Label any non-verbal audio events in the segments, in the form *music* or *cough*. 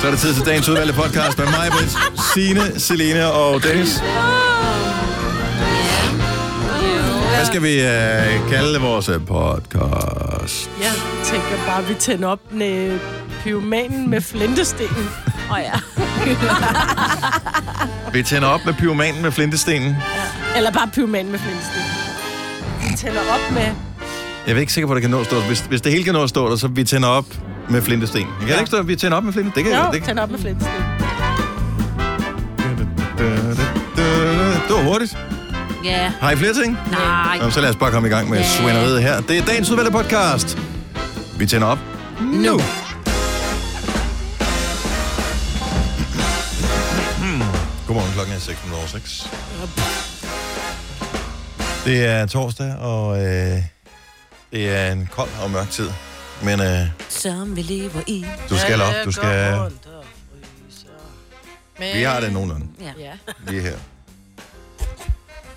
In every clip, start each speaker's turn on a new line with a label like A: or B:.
A: Så er det tid til dagens udvalgte podcast med mig, Britt, Signe, Selene og Dennis. Hvad skal vi øh, kalde vores øh, podcast?
B: Jeg tænker bare, at vi tænder op med pyromanen med flintestenen.
C: Åh oh, ja.
A: Vi tænder op med pyromanen med flintestenen.
B: Eller bare pyromanen med flintestenen. Vi tænder op med...
A: Jeg er ikke sikker på, at det kan nå at stå. Hvis, hvis det hele kan nå at stå der, så vi tænder op med flintesten. Kan det ikke stå, at vi tænder op med flintesten? Det kan
B: Jo,
A: det kan.
B: tænder op med flintestenen.
A: Det var hurtigt.
C: Ja.
A: Har I flere ting?
C: Nej.
A: Nå, så lad os bare komme i gang med
C: Ja.
A: svineriet her. Det er dagens udvalgte podcast. Vi tænder op nu. Hmm. Godmorgen, klokken er 6.06. Det er torsdag, og øh, det er en kold og mørk tid. Men øh,
C: Som vi lever i.
A: du skal op, du skal...
D: Men,
A: Vi har det nogenlunde
C: Ja.
D: Ja,
A: lige her.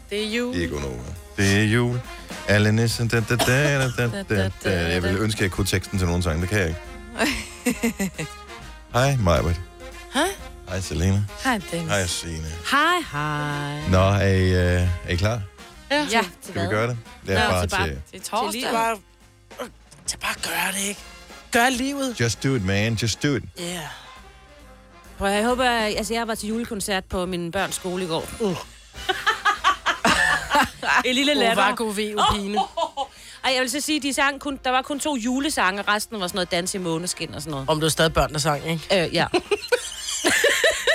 D: det er
B: *laughs*
D: jul.
A: i Gonova. Det er jul. Alle nissen, da, da, da, da, da, da, da. Jeg ville ønske, at jeg kunne teksten til nogle sange. Det kan jeg ikke. Hej, Majbert.
D: Hej.
A: Hej, Selena.
D: Hej, Dennis.
A: Hej, Signe.
C: Hej, hej.
A: Nå, er I, øh, er I klar?
C: Ja,
A: Skal vi gøre det? Det er
C: Nå,
A: bare
C: til bare-
A: til...
D: Det er
C: torsdag.
D: torsdag. Bare...
B: Så bare gør det, ikke? Gør livet.
A: Just do it, man. Just do it.
B: Yeah.
C: Prøv, at høre, jeg håber, at- altså jeg var til julekoncert på min børns skole i går. Uh. *laughs* en lille latter.
B: Uvago veo-pine.
C: *laughs* Ej, jeg vil så sige, de sang kun, der var kun to julesange, resten var sådan noget dans i måneskin og sådan noget.
B: Om du er stadig børn, der sang, ikke?
C: Øh, ja.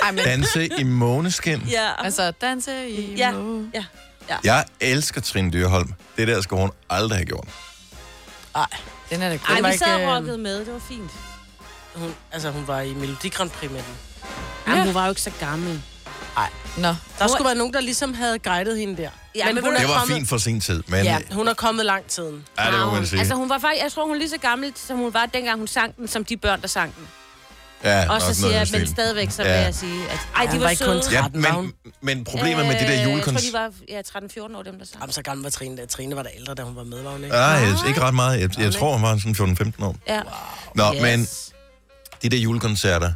D: Ej, men
A: Danse i måneskin.
C: ja.
D: altså, danse i
C: Ja,
D: månen.
C: ja.
A: Jeg elsker Trine Dyrholm. Det der skal hun aldrig have gjort.
D: Den er da god.
C: Ej,
D: Den var
C: vi sad
D: ikke,
C: og
D: øh,
C: rockede med, det var fint.
B: Hun, altså, hun var i Melodi Grand Prix med den.
C: Jamen, hun var jo ikke så gammel.
D: Nå,
B: Der skulle være nogen, der ligesom havde guidet hende der.
C: Ja, men
B: hun
C: ved
A: Det
C: du-
A: var
B: kommet,
A: fint for sin tid, men... Ja,
B: Ja, hun er kommet langt tiden.
A: det må man
C: Altså,
A: sige.
C: hun var faktisk, jeg tror, hun er lige så gammel, som hun var, dengang hun sang den, som de børn, der sang den.
A: Ja,
C: Og så
A: nok
C: siger
A: noget i
C: jeg,
A: den
C: men
A: stil.
C: stadigvæk, så vil
A: Ja.
C: jeg sige, at... Ej, de
B: hun
C: var,
B: var ikke kun
C: søde.
A: Ja,
B: 13 var hun.
A: men, men problemet med de der
C: Øh, Jeg
A: julekoncerter...
C: tror, de var ja, 13-14 år, dem der sang.
B: Jamen, så gammel var Trine da. Trine var da ældre, da hun var med, var hun ikke?
A: Nej, jeg, ikke ret meget. Jeg, jeg tror, han var sådan 14-15 år.
C: Ja.
A: Nå, yes. men de der julekoncerter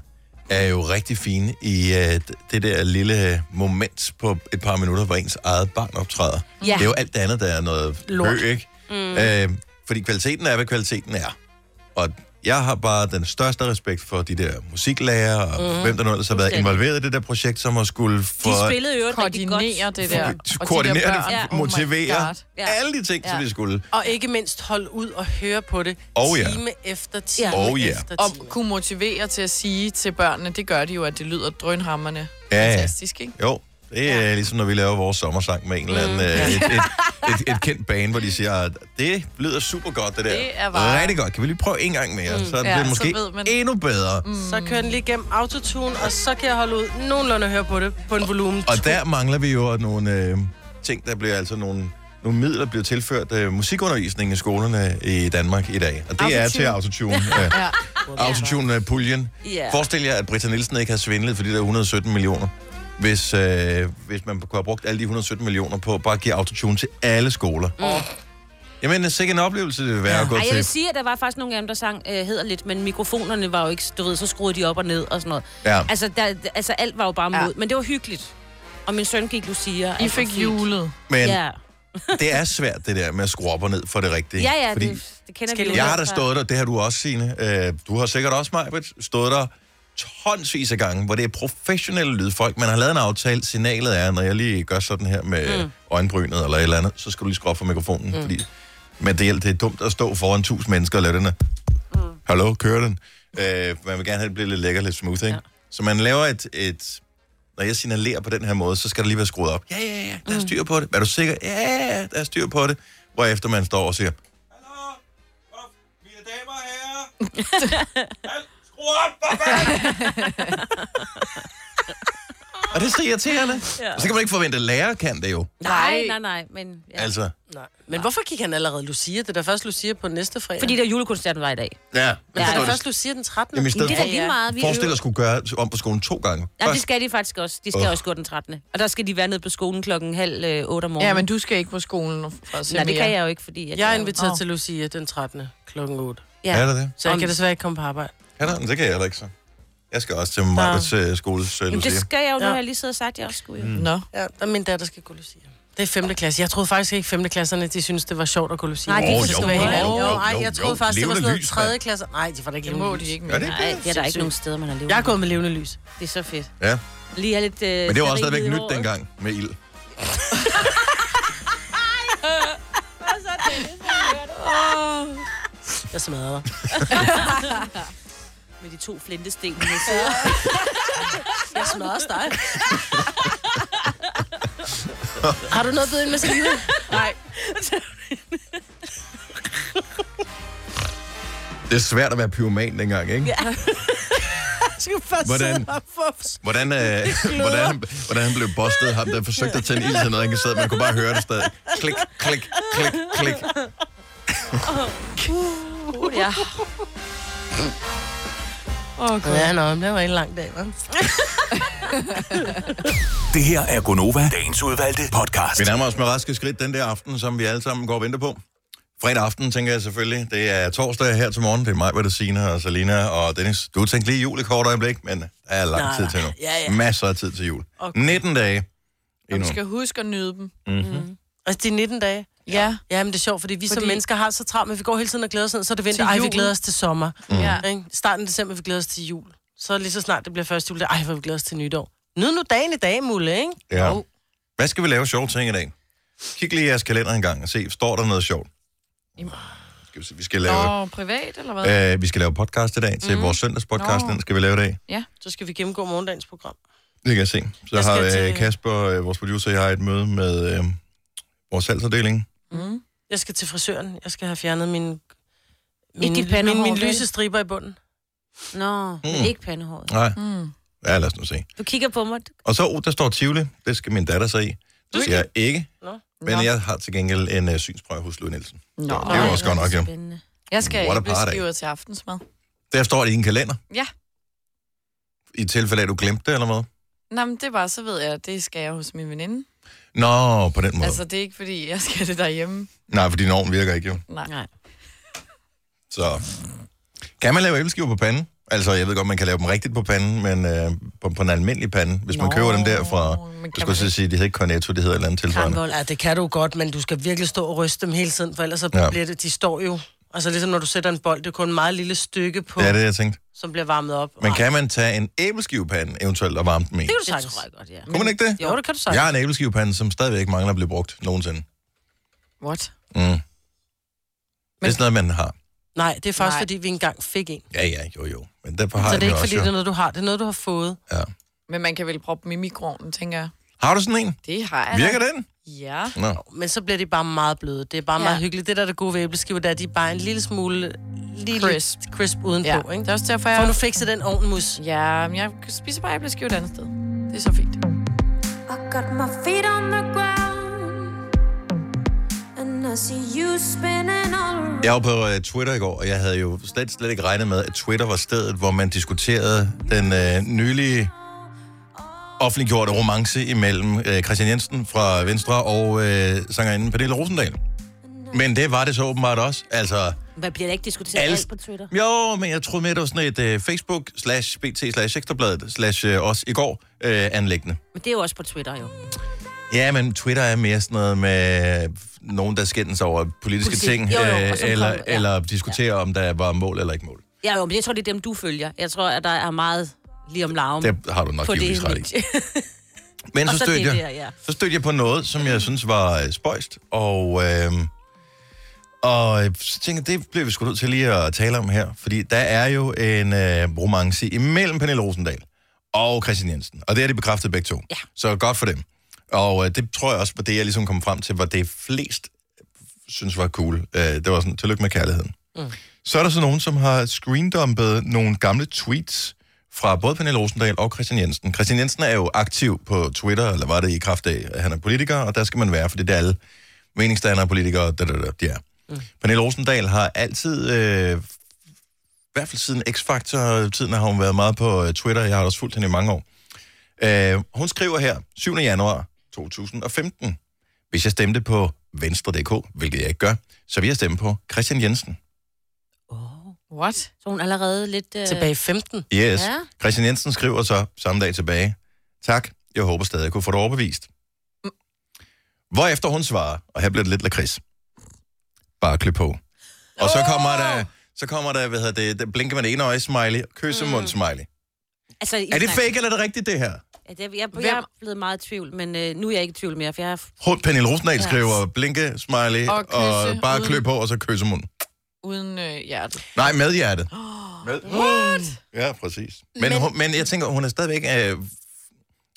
A: er jo rigtig fine i uh, det der lille øh, moment på et par minutter, hvor ens eget barn optræder.
C: Ja.
A: Det er jo alt det andet, der er noget
B: Lort.
A: bøg, ikke? Mm. Øh, fordi kvaliteten er, hvad kvaliteten er. Og jeg har bare den største respekt for de der musiklærer, og mm. hvem der nu ellers har været
C: Fuldstændig.
A: involveret i det der projekt, som har skulle for...
C: De spillede jo rigtig godt.
D: koordinere det der. Og de
A: koordinere
D: der
A: det,
D: børn.
C: Ja.
A: ja.
C: Oh my
A: motivere,
C: Ja.
A: alle de ting, ja. som de skulle.
B: Og ikke mindst holde ud og høre på det
A: Oh, ja.
B: time efter time
C: Ja.
A: Oh, ja.
B: efter
D: Og
B: time.
D: kunne motivere til at sige til børnene, det gør de jo, at det lyder drønhammerne.
A: Ja, ja.
D: Fantastisk, ikke?
A: Jo, det er ja. ligesom når vi laver vores sommersang med en eller anden, mm. øh, et,
D: *laughs*
A: et, et, et kendt band, hvor de siger, at det lyder super godt, det der.
D: Det er bare-
A: Rigtig godt. Kan vi lige prøve en gang mere? Mm. Så er det
D: Ja,
A: ja,
D: så
A: måske
D: ved man-
A: endnu bedre. Mm.
B: Så kører den lige gennem autotune, og så kan jeg holde ud nogenlunde at høre på det på en volumen.
A: Og der mangler vi jo nogle øh, ting, der bliver altså nogle, nogle midler, bliver tilført øh, musikundervisningen i skolerne i Danmark i dag. Og det er til autotune. *laughs*
D: *laughs*
A: Øh,
D: Ja.
A: autotune-puljen.
C: Ja.
A: øh, Forestil jer, at Britta Nielsen ikke har svindlet for de der 117 millioner. Hvis, øh, hvis man kunne have brugt alle de 117 millioner på bare at give autotune til alle skoler. Mm. Jamen, sikkert en oplevelse det vil være ja. at gå
C: Ej, jeg
A: til.
C: vil sige, at der var faktisk nogle af dem, der sang øh, hederligt, men mikrofonerne var jo ikke, du ved, så skruede de op og ned og sådan noget.
A: Ja.
C: Altså, der, altså alt var jo bare
D: Ja.
C: mod, men det var hyggeligt. Og min søn gik Lucia.
D: I
C: altså,
D: fik
C: fint.
D: julet.
A: Men ja.
C: Ja,
A: det er svært, det der med at skrue op og ned for det rigtige.
C: ja, ja
A: Fordi
C: det, det kender vi jo
A: jeg har
C: godt
A: da
C: fra-
A: stået der, det har du også, Signe. Øh, du har sikkert også, Majbrit, stået der tonsvis af gange, hvor det er professionelle lydfolk. Man har lavet en aftale. Signalet er, når jeg lige gør sådan her med mm. øjenbrynet eller et eller andet, så skal du lige skrue op for mikrofonen. Mm. Fordi, men det, hjælper- det er dumt at stå foran tusind mennesker og lave den her. Mm. Hallo, kører den? Øh, man vil gerne have, at det bliver lidt lækker, lidt smooth, ikke? Ja. Så man laver et, et... Når jeg signalerer på den her måde, så skal der lige være skruet op. Ja, ja, ja, der er styr på det. Er du sikker? Ja, ja, ja, der er styr på det. Hvorefter man står og siger, mine damer og herrer. Al- Skru op, for fanden! Og det er så irriterende. Ja. Så kan man ikke forvente, at lærer kan det jo.
C: Nej, nej, nej, men... Ja. Altså,
A: Altså,
B: Nej. Men hvorfor gik han allerede Lucia? Det er da først Lucia på næste fredag.
C: fordi der julekoncerten var i dag.
A: ja.
B: Men det er
C: Ja,
B: da
A: ja.
B: først Lucia den 13.
A: Jamen, i stedet
C: Det er da lige meget. Vi
A: Forestil dig
C: øver-
A: at skulle gøre om på skolen to gange.
C: Nej, det
A: Først-
C: skal de faktisk også. De skal
A: Åh.
C: også gå den 13. Og der skal de være nede på skolen klokken halv øh, 8 om morgenen.
D: Ja, men du skal ikke på skolen for at se
C: Nej, det
D: mere.
C: kan jeg jo ikke, fordi... At
B: Jeg er
C: jo-
B: inviteret
D: Åh.
B: oh. til Lucia den 13. klokken 8.
C: Ja.
A: Er det det?
B: Så jeg
C: Om-
B: kan desværre ikke komme på arbejde.
A: Er der? Men det kan jeg heller ikke så. Jeg skal også til Majbrits øh, skoles øh,
C: Jamen, det
A: Lucia.
C: skal jeg jo, nu
B: Ja.
C: har jeg lige siddet og sagt, at jeg også skulle. Mm.
D: Nå.
B: Ja, der er min datter skal gå Lucia. Det er 5. klasse. Jeg troede faktisk ikke, 5. klasserne, de synes det var sjovt at gå Lucia.
C: Nej, de
B: Åh,
C: synes, det var
B: jo,
C: helt
B: jo,
A: andet.
B: jo,
A: Jo,
B: ej,
A: jo,
B: jeg troede
A: jo.
B: faktisk, det var
A: Levende
B: sådan noget
A: lys,
B: 3.
A: mand.
B: klasse. Nej, de var da ikke
D: Det må de ikke
A: Gør det
D: mere.
A: ikke
C: Nej,
A: det?
C: det er der ikke
B: Sindssygt.
C: nogen steder, man har levet.
B: Jeg er gået med levende lys.
C: Det er så fedt.
A: Ja,
C: Lige have lidt... Øh,
A: men det var også
C: stearin i
A: stadigvæk nyt
C: håret.
A: dengang med ild.
B: *laughs* Jeg smadrer dig.
C: *laughs* Med de to flintesten, hun
B: *laughs*
C: sidder.
B: Jeg smadrer også dig. *laughs* Har du noget bedre end med Selina? *laughs* Nej.
A: Det er svært at være pyroman dengang, ikke?
B: Jeg skal først
A: Hvordan?
B: sidde og få
A: Hvordan, *laughs*
C: *laughs*
A: øh, hvordan, han- hvordan han blev bustet, ham der forsøgte at tænde ild til noget, han kan sidde, man kunne bare høre det stadig. Klik, klik, klik, klik.
C: Uh, ja.
B: Ja, nå, men det var en lang dag, hva'?
E: Det her er Gonova, dagens udvalgte podcast.
A: Vi nærmer os med raske skridt den der aften, som vi alle sammen går og venter på. Fredag aften, tænker jeg selvfølgelig. Det er torsdag her til morgen. Det er mig, hvad det Signe og Salina og Dennis. Du tænkte lige jul i kort øjeblik, men der er lang
B: Nej,
A: tid til nu.
B: ja, ja.
A: Masser af tid til jul.
B: Okay.
A: 19 dage
D: Og vi
A: endnu.
D: skal huske at nyde dem.
B: *laughs* Altså, det er 19 dage.
D: Ja.
B: Ja, men det er sjovt, fordi vi fordi... som
D: Fordi-
B: mennesker har så travlt, men vi går hele tiden og glæder os, sådan, så er det vinter.
D: Til
B: Ej, vi
D: jul.
B: glæder os til sommer.
A: Mm.
C: Mm.
D: ja.
B: Ikke? Starten af december, vi glæder os til jul. Så lige så snart det bliver første jul, det- ej, hvor vi glæder os til nytår. Nyd nu dagen i dag, Mulle, ikke?
A: Ja. Hvad skal vi lave sjove ting i dag? Kig lige i jeres kalender en gang og se, står der noget sjovt? Skal vi, se, vi skal lave...
D: Og privat, eller hvad?
A: Øh, vi skal lave podcast i dag til
B: Mhm.
A: mm. vores søndagspodcast.
D: Nå.
A: Den skal vi lave i dag.
B: Så skal vi gennemgå morgendagens program.
A: Det kan jeg se. Så jeg
B: Jeg
A: har
B: skal
A: øh,
B: til-
A: Kasper, øh, vores producer, jeg har et møde med øh, vores salgsafdeling.
B: Jeg skal til frisøren. Jeg skal have fjernet min...
C: dit
B: Min,
C: pandehår,
B: min, min
C: vel?
B: lyse striber i bunden.
C: Nå, men ikke pandehåret.
A: Mm. Nej,
D: Mm.
A: ja, lad os nu se.
C: Du kigger på mig.
A: Og så, oh, der står Tivoli. Det skal min datter sig i. Det skal jeg ikke,
B: Nå.
A: men jeg har til gengæld en øh, synsprøve hos Louis Nielsen.
D: Nå.
A: Det er jo også godt nok, ja.
C: Spændende.
D: Jeg skal
A: What a party.
D: æbleskiver til aftensmad.
A: Der står det i en kalender.
D: Ja.
A: I tilfælde af, at du glemte det eller hvad?
D: Nå, men det er bare, så ved jeg, at det skal jeg hos min veninde.
A: Nå, på den måde. Altså...
D: Altså, det er ikke, fordi jeg skal det derhjemme.
A: Nej, for din ovn virker ikke jo.
D: Nej.
C: Nej.
A: Så kan man lave æbleskiver på panden? Altså, jeg ved godt, man kan lave dem rigtigt på panden, men øh, på, på en almindelig pande. Hvis Nå, man køber dem der fra...
D: Men
A: Jeg
D: kan
A: skulle
D: man
A: til at sige, at de hedder ikke Cornetto, det hedder et eller andet tilsvarende.
B: Ja, det kan du godt, men du skal virkelig stå og ryste dem hele tiden, for ellers så
A: Ja.
B: ja. bliver det... De står jo... Altså ligesom når du sætter en bold, det er kun en meget lille stykke på,
A: Det
B: ja,
A: er
B: det...
A: det, jeg tænkte.
B: som bliver varmet op.
A: Men
B: Ej,
A: kan man tage en æbleskivepande eventuelt og varme den i?
B: Det kan du
C: Det
B: sagtens.
C: tror jeg godt, ja.
A: Kunne man ikke det?
B: Jo, det kan du sagtens.
A: Jeg har en æbleskivepande, som stadigvæk mangler at blive brugt nogensinde.
D: What?
A: Mm. Men... Det er sådan noget, man har.
B: Nej, det er faktisk,
D: Nej.
B: Nej. fordi vi engang fik en.
A: Ja, ja, jo, jo. Men derfor har
B: så
A: jeg
B: det
A: den
B: er ikke,
A: også,
B: fordi
A: jo.
B: det er noget, du har. Det er noget, du har fået.
A: ja.
D: Men man kan vel proppe dem i mikroovnen, tænker jeg.
A: Har du sådan en?
D: Det har jeg da.
A: Virker den?
D: Ja.
A: Nå.
B: Men så bliver de bare meget bløde. Det er bare
D: Ja.
B: ja. meget hyggeligt. Det der er det gode ved æbleskiver, det er, at de er bare en lille smule lige
D: Crisp.
B: lidt crisp udenpå.
D: ja.
B: Ja. Ikke?
D: Det er også derfor,
B: Får
D: jeg...
B: nu fikset den ovnmus.
D: Ja, men jeg spiser bare æbleskiver et andet sted. Det er så fint.
F: I got my feet on the ground, and I see you spinning all around.
A: Jeg var på øh, Twitter i går, og jeg havde jo slet, slet ikke regnet med, at Twitter var stedet, hvor man diskuterede den øh, nylige offentliggjorte romance imellem øh, Christian Jensen fra Venstre og øh, sangerinden Pernille Rosendal. Men det var det så åbenbart også. Altså,
C: Hvad bliver der ikke diskuteret
A: Alle-
C: alt på Twitter?
A: jo, men jeg troede mere, det var sådan et øh, Facebook slash BT slash Ekstrabladet slash øh, os i går øh, anlæggende.
C: Men det er jo også på Twitter, jo.
A: Ja, men Twitter er mere sådan noget med øh, nogen, der skændes over politiske
C: Politik.
A: ting,
C: Jo, jo, og
A: øh,
C: som
A: eller,
C: kom- ja.
A: eller diskuterer, om der var mål eller ikke mål.
C: Ja, jo, men jeg tror, det er dem, du følger. Jeg tror, at der er meget lige om larven
A: Det har du nok
C: på
A: givetvis
C: det
A: ret i.
C: medie. *laughs*
A: Men
C: Og
A: så
C: så
A: stødte,
C: det
A: jeg,
C: der, ja.
A: så stødte jeg på noget, som jeg synes var øh, spøjst, og, øh, og øh, så tænkte jeg, det bliver vi sgu nødt til lige at tale om her, fordi der er jo en øh, romance imellem Pernille Rosendal og Christian Jensen, og det er de bekræftet begge to.
C: Ja.
A: Så godt for dem. Og øh, det tror jeg også var det, jeg ligesom kom frem til, var det flest øh, synes var cool. Øh, det var sådan, tillykke med kærligheden. Mm. Så er der så nogen, som har screendumpet nogle gamle tweets fra både Pernille Rosendal og Christian Jensen. Christian Jensen er jo aktiv på Twitter, eller var det i kraft af, at han er politiker, og der skal man være, for det er alle meningsdannere, politikere, da, da, da, de er. Mm. Pernille Rosendal har altid, øh, i hvert fald siden X-Factor-tiden, har hun været meget på øh, Twitter. Jeg har også fulgt hende i mange år. Øh, hun skriver her, 7. januar 2015. Hvis jeg stemte på Venstre.dk, hvilket jeg ikke gør, så vil jeg stemme på Christian Jensen.
C: Åh.
D: What?
C: Så hun er allerede lidt... Øh...
B: Tilbage i 15.
A: Yes.
C: Ja.
A: Christian Jensen skriver så samme dag tilbage. Tak, jeg håber stadig, jeg kunne få dig overbevist. Hvorefter hun svarer, og her bliver det lidt lakrids. Bare klø på. Og så kommer der, så kommer der, hvad hedder det, der blinker med det ene øje smiley,
D: Mm.
A: kyssemund smiley.
C: Altså,
A: Er det fake, eller er det rigtigt, det her?
C: Ja, det, jeg, jeg, jeg er blevet meget i tvivl, men øh, nu er jeg ikke i tvivl mere, for jeg har...
A: Hul- Pernille Rosendal skriver blinke, smiley,
D: Og
A: og,
D: kysse
A: og bare
D: uden-
A: klø på, og så kyssemund.
D: Uden øh, hjertet.
A: Nej, med hjertet. Med. What? Ja, præcis. Men, men...
D: Men-
A: Hun, men jeg tænker, hun er stadigvæk... Øh,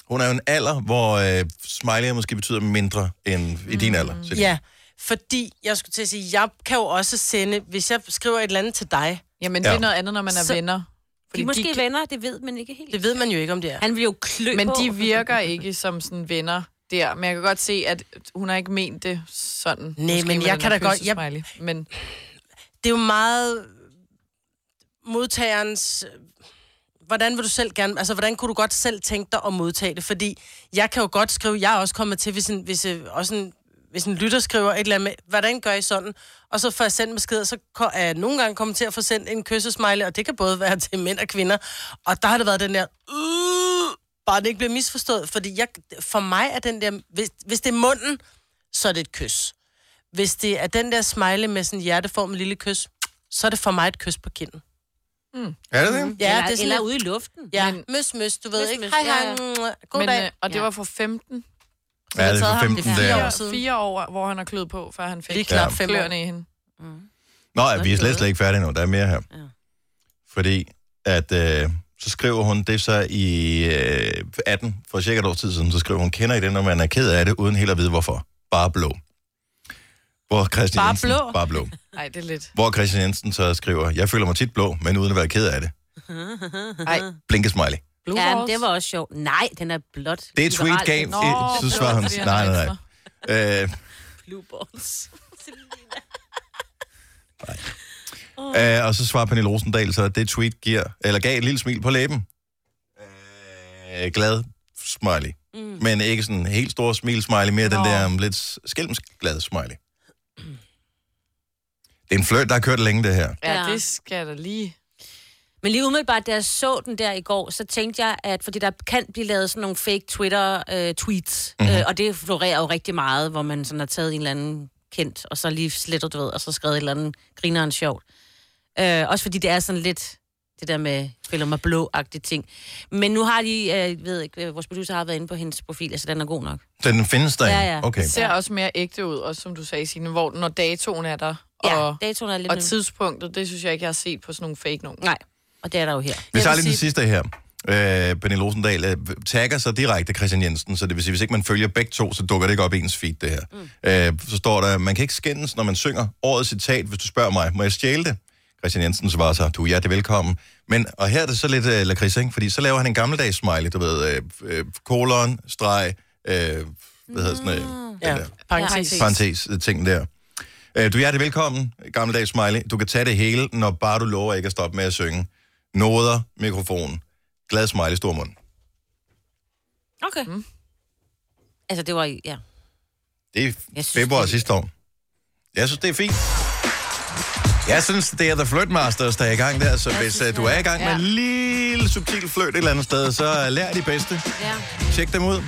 A: hun er jo en alder, hvor øh, smiley måske betyder mindre end i din alder. Mm.
B: Ja, fordi jeg skulle til at sige, jeg kan jo også sende, hvis jeg skriver et eller andet til dig,
D: Jamen,
A: Ja.
D: ja. det er noget andet, når man er
B: Så-
D: så... venner.
C: De
D: Fordi
C: er måske
D: de,
C: de... venner, det ved man ikke helt.
B: det ved man jo ikke, om det er.
C: Han vil jo klø
D: men
C: på.
D: de virker ikke som sådan venner der. Men jeg kan godt se, at hun har ikke ment det sådan. Måske
B: men
D: med
B: jeg
D: den
B: kan
D: her
B: da godt- jeg-
D: kyssesmiley. Men
B: Det er jo meget øh, modtagerens... øh, Hvordan vil du selv gerne... Altså, hvordan kunne du godt selv tænke dig at modtage det? Fordi jeg kan jo godt skrive... Jeg er også kommet til, hvis en, hvis, øh, også en, hvis en lytter skriver et eller andet med, hvordan gør I sådan? Og så får jeg sendt besked, og så ko- er jeg nogle gange kommet til at få sendt en kyssesmiley, og det kan både være *laughs* til mænd og kvinder. Og der har det været den der... "Øh", Bare det ikke bliver misforstået, fordi jeg, for mig er den der... Hvis, hvis det er munden, så er det et kys. Hvis det er den der smiley med sådan en hjerteformet lille kys, så er det for mig et kys på kinden.
C: Mm.
A: Er det det?
B: Ja,
C: eller,
B: det er sådan
C: eller
B: lidt-
C: ude i luften.
B: Ja,
D: Men-
C: *laughs*
B: møs, møs, du ved
C: Møs,
B: ikke.
C: møs,
B: Hej,
C: ja,
B: hej.
C: ja.
B: mm, God
D: men,
B: dag.
D: øh, og det
C: Ja.
D: var for 15.
A: Ja, det er for
D: taget ham
A: 15
B: det er fire
A: der.
B: år.
D: Fire, fire år, hvor han har kløet på, før han fik
B: Lige knap
A: Ja.
B: fem år.
D: kløerne i hende.
A: Nå, ja, vi er slet, slet ikke færdige endnu. Der er mere her. Ja.
C: Ja.
A: Fordi at... Øh, så skriver hun det så i øh, 18, for cirka et års tid siden, så skriver hun, kender I det, når man er ked af det, uden helt at vide hvorfor. Bare blå. Hvor Christian
B: Bare
A: Jensen,
B: blå?
A: Bare blå.
D: Nej, det er lidt.
A: Hvor Christian Jensen så skriver, jeg føler mig tit blå, men uden at være ked af det.
D: Ej,
A: Blinke smiley.
D: Blue
C: Ja, men
D: Balls.
C: det var også sjovt. Nej, den er blot.
A: Det er et tweet
C: liberal.
A: game.
D: Nå,
A: Nå, så
D: det altså.
A: svarer
D: var
A: hun,
D: fordi, han
A: nej,
D: var
A: nej, nej.
D: ekstra.
A: Øh,
C: Blue balls.
A: øh, og så svarer Pernille Rosendal, så det tweet giver, eller gav et lille smil på læben. Øh, glad smiley. Mm. Men ikke sådan en helt stor smil smiley, mere Nå. den der um, lidt skælmsk glad smiley. Det er en flirt, der har kørt længe, det her.
D: Ja,
C: Ja.
D: det skal der lige.
C: Men lige umiddelbart, da jeg så den der i går, så tænkte jeg, at fordi der kan blive lavet sådan nogle fake Twitter-tweets,
A: Mhm.
C: øh, øh, og det florerer jo rigtig meget, hvor man sådan har taget en eller anden kendt, og så lige slettet, du ved, og så skrevet et eller andet grineren sjovt. Øh, også fordi det er sådan lidt det der med spiller mig blå-agtige ting. Men nu har de, øh, ved ikke, øh, vores producer har været inde på hendes profil, altså den er god nok.
A: Så den findes der
C: Ja,
A: ikke?
C: ja.
A: Okay.
D: Det ser også mere ægte ud, også som du sagde, Signe, hvor når datoen er der,
C: Ja,
D: og,
C: datoen er lidt...
D: og tidspunktet, det synes jeg ikke, jeg har set på sådan nogle fake nogen.
C: Nej, og det er der jo her.
A: Vi
D: Jeg
A: tager
D: vil
A: lige den
D: sige-
A: sidste her. Øh, Pernille Rosendal øh, tagger så direkte Christian Jensen, så det vil sige, hvis ikke man følger begge to, så dukker det ikke op i ens feed, det her. Mm. Øh, så står der, man kan ikke skændes, når man synger årets citat, hvis du spørger mig, må jeg stjæle det? Christian Jensen svarer så, du er hjertelig velkommen. Men, og her er det så lidt øh, lakrids, ikke? fordi så laver han en gammeldags smiley, du ved, øh, øh, kolon, streg, øh, hvad hedder sådan noget, mm.
B: Ja, parentes.
C: Ja,
A: parentes, øh, ting der. Øh, du er hjertelig velkommen, gammeldags smiley. Du kan tage det hele, når bare du lover ikke at stoppe med at synge. Noder, mikrofon, glad smiley, stor mund.
C: Okay. Mm. Altså, det var... i- Ja.
A: Det er
C: Jeg synes,
A: februar
C: det er-
A: sidste år. Jeg synes, det er fint. Jeg synes, det er The Flirt Masters, der er i gang der, så hvis øh, du er i gang med en lille subtil fløjt et eller andet sted, så øh, lær de bedste.
C: ja.
A: Tjek dem ud.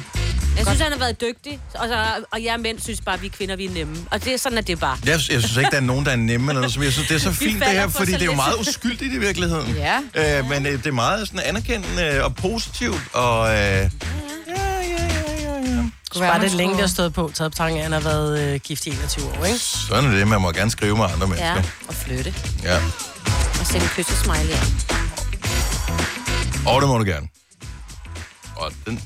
C: Jeg synes, han har været dygtig, og, så, og jeg mænd synes bare, at vi kvinder, vi er nemme. Og det, sådan er det bare.
A: Jeg, jeg synes ikke, der er nogen, der er nemme eller noget, som jeg synes, det er så fint det
C: falder
A: her,
C: for
A: fordi
C: så
A: det er jo
C: lidt.
A: meget uskyldigt i virkeligheden.
D: Ja.
A: Øh, men øh, det er meget sådan anerkendende og positivt, og... Øh, ja, ja, ja, ja, ja.
B: Bare det længe, der har stået på, taget på tanken, at han har været øh, gift i 21 år, ikke?
A: Sådan er det, man må gerne skrive med andre
C: Ja,
A: mennesker.
C: og flytte.
A: Ja.
C: Og sende kyssesmiley af.
A: Og det må du gerne. Og den,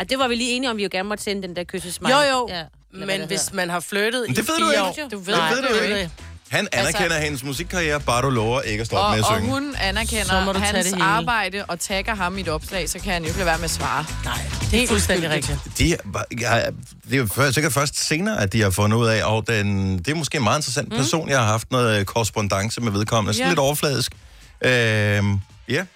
C: Og det var vi lige enige om, vi jo gerne måtte sende den der kyssesmiley.
B: Jo, jo.
C: Ja. Eller hvad
B: Men
C: det
B: hvis
C: hedder.
B: man har flyttet
A: Men det
B: i
A: ved du
B: fire
A: ikke.
B: år...
D: Du ved
B: Nej,
A: det ved du
B: ved
A: ikke. han anerkender altså, hendes musikkarriere, bare du lover ikke at stoppe
D: Og,
A: med at
D: og
A: synge.
D: hun
B: Så må
D: anerkender
B: du tage det
D: hans
B: hele.
D: arbejde og tagger ham i et opslag, så kan han jo ikke lade være med at svare.
B: Nej, det er fuldstændig rigtigt.
A: De, var- jeg, det er jo før- sikkert først senere, at de har fundet ud af, og den, det er måske en meget interessant person, jeg har haft noget øh, korrespondence med vedkommende. Sådan
D: Ja.
A: lidt overfladisk. Øh, Ja. yeah.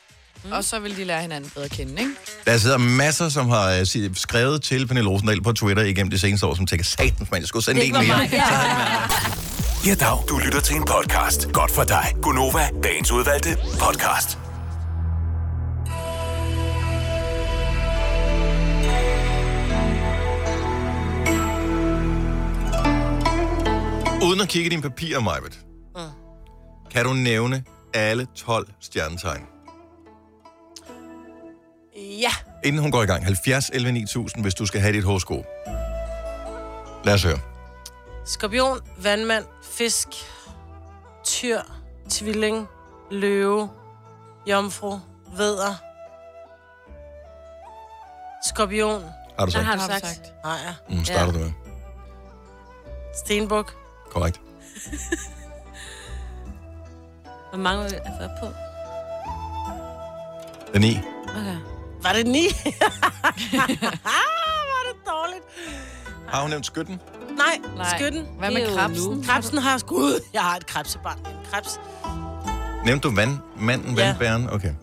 D: Mm. Og så vil de lære hinanden bedre at kende, ikke?
A: Der sidder masser, som har øh, si- skrevet til Pernille Rosendal på Twitter igennem de seneste år, som tænker, satans mand, jeg skulle sende en
C: var
A: mere.
C: mig. Ja.
E: Ja, dag. Du lytter til en podcast. Godt for dig. Gunova, dagens udvalgte podcast.
A: Uden at kigge i dine papirer, Majbet,
B: Mm.
A: kan du nævne alle 12 stjernetegn?
B: Ja.
A: Inden hun går i gang, 70 11 9000, hvis du skal have dit horoskop. Lad os høre.
B: Skorpion, vandmand, fisk, tyr, tvilling, løve, jomfru, væder. Skorpion,
A: Har du
C: Der
A: sagt?
C: har
A: Har...
C: du
D: Har du
C: sagt.
D: sagt.
B: ejer,
A: Mm, starter du med.
B: stenbuk.
A: Korrekt.
C: Hvor mange er vi oppe på?
A: Den 9.
C: Okay.
B: Var det ni? *laughs* Var det dårligt.
A: Har hun nævnt skytten?
B: Nej,
D: Nej.
B: Nej. skytten.
D: Hvad med
C: Det er jo
D: krebsen?
C: nu.
B: Krebsen har skud. Jeg har et krebsebarn. En krebs.
A: Nævnte du vand, manden,
B: Ja.
A: vandbæren? Okay.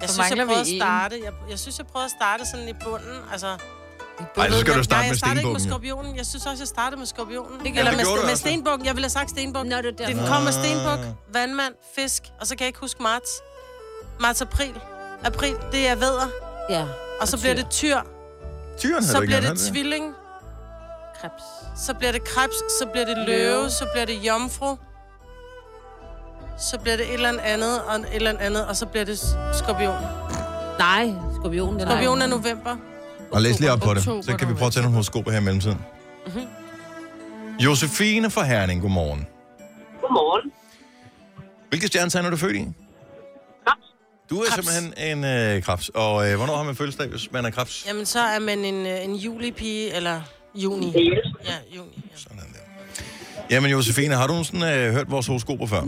B: Jeg
D: Så
B: synes, jeg
D: mangler vi
B: prøver at
D: en.
B: starte. Jeg, jeg synes, jeg prøver at starte sådan i bunden. Altså,
A: Ej, så skal
B: jeg-
A: du starte
B: Nej,
A: med
B: jeg starter ikke med
A: stenbukken. jo.
B: skorpionen. Jeg synes også, jeg starter med skorpionen. Det
A: gjorde
B: Eller
A: du
B: med,
A: også.
B: med stenbukken. Jeg ville have sagt stenbukken.
C: Nå, det er derfor.
B: det kommer
A: Ah.
B: stenbuk, vandmand, fisk, og så kan jeg ikke huske marts. Marts-april. April, det er vædder.
C: *laughs* Ja.
B: Og så bliver det tyr.
A: Tyren havde
B: Så
A: du ikke
B: bliver
A: nævnt,
B: det
A: havde du
B: tvilling.
C: Krebs.
B: Så bliver det krebs. Så bliver det
C: Løve.
B: løve. Så bliver det jomfru. Så bliver det et eller andet, og et eller andet, og så bliver det skorpion.
C: Nej, skorpionen. Den
B: Skorpion er november.
A: Og læs lige op på det,
D: Oktober,
A: så kan vi
D: november.
A: prøve at tage nogle horoskoper her i mellemtiden.
B: Mhm.
A: Josefine fra Herning, godmorgen.
G: Godmorgen.
A: Hvilke stjernetegn er du født i?
G: Krebs.
A: Du er
B: Krebs.
A: simpelthen en øh, krebs. Og øh, hvornår har man fødselsdag, hvis man er krebs?
B: Jamen, så er man en, øh, en julipige, eller juni. Ja, juni. Ja.
A: Sådan der. Jamen, Josefine, har du sådan, øh, hørt vores horoskoper før?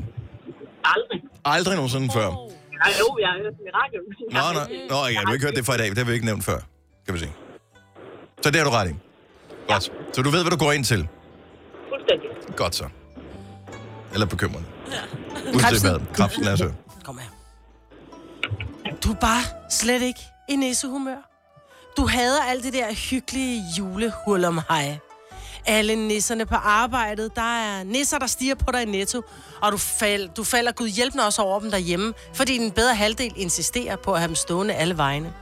G: Aldrig.
A: Aldrig nogensinde før.
G: Nej, jo, jeg har hørt den i radioen. *laughs*
A: Nå, nej. Nå, jeg har jo ikke hørt det fra i dag. Det har vi ikke nævnt før, kan vi se. Så det har du ret i. Godt. Så du ved, hvad du går ind til.
G: Fuldstændig.
A: Godt så. Eller bekymrende. Krebsen. Krebsen, lad os høre.
B: Kom her. Du er bare slet ikke i nissehumør. Du hader alt det der hyggelige julehul om hej. Alle nisserne på arbejdet, der er nisser, der stiger på dig i netto. Og du, fald, du falder gud hjælpende også over dem derhjemme, fordi den bedre halvdel insisterer på at have dem stående alle vegne.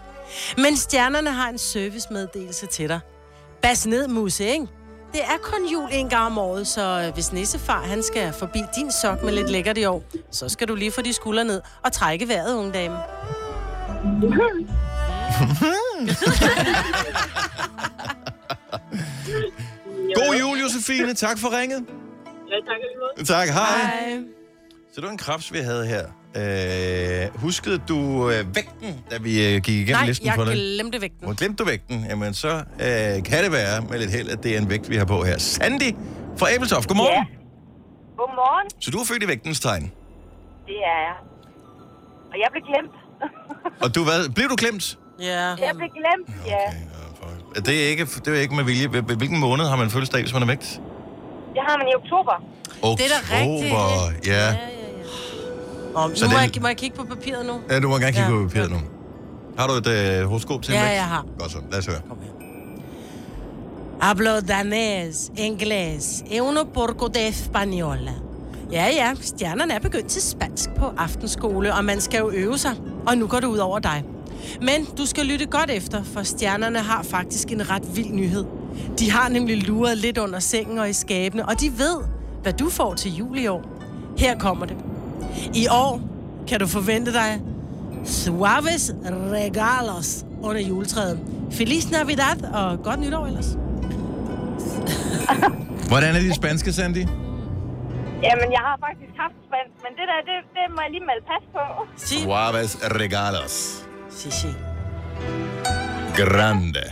B: Men stjernerne har en servicemeddelelse til dig. Bas ned, Musse, ikke? Det er kun jul en gang om året, så hvis nissefar han skal forbi din sok med lidt lækkert i år, så skal du lige få de skuldre ned og trække vejret, unge dame.
A: God jul, Josefine. Tak for ringet.
G: Ja, tak alligevel.
A: Tak, hej. hej. Så det var en krebs, vi havde her. Øh, huskede du øh, vægten, da vi øh, gik igennem
B: Nej,
A: listen
B: jeg
A: for dig?
B: glemte vægten.
A: Og glemte du vægten, jamen så øh, kan det være med lidt held, at det er en vægt, vi har på her. Sandy fra Abeltoft, godmorgen.
G: Ja. Godmorgen.
A: Så du er født i vægtens tegn.
G: Det er jeg. Og jeg blev glemt.
A: Og du hvad? Blev du klemt?
B: Ja.
G: Jeg blev glemt, ja.
A: Okay, ja, for- det er ikke, det er ikke med vilje. Hvil- Hvilken måned har man fødselsdag, hvis man er vægt?
G: Det har man i oktober.
A: Oktober,
B: Det er da rigtigt.
A: ja.
B: Og nu
A: Så
B: må,
A: den-
B: jeg, må jeg kigge på papiret nu.
A: ja. du må gerne kigge på
B: Ja.
A: papiret nu. Har du et øh, horoskop til en
B: Ja,
A: vægt?
B: jeg har.
A: Godt så, lad os høre.
B: Hablo danés, inglés, e uno porco de española. Ja, ja, stjernerne er begyndt til spansk på aftenskole, og man skal jo øve sig. Og nu går det ud over dig. Men du skal lytte godt efter, for stjernerne har faktisk en ret vild nyhed. De har nemlig luret lidt under sengen og i skabene, og de ved, hvad du får til jul i år. Her kommer det. I år kan du forvente dig suaves regalos under juletræet. Feliz Navidad og godt nytår ellers.
A: Hvordan er de spanske, Sandy?
G: Jamen, jeg har faktisk haft spansk, men det der, det, det må jeg lige melde pas på.
B: Si,
A: Suaves regalos.
B: si, si.
A: Grande.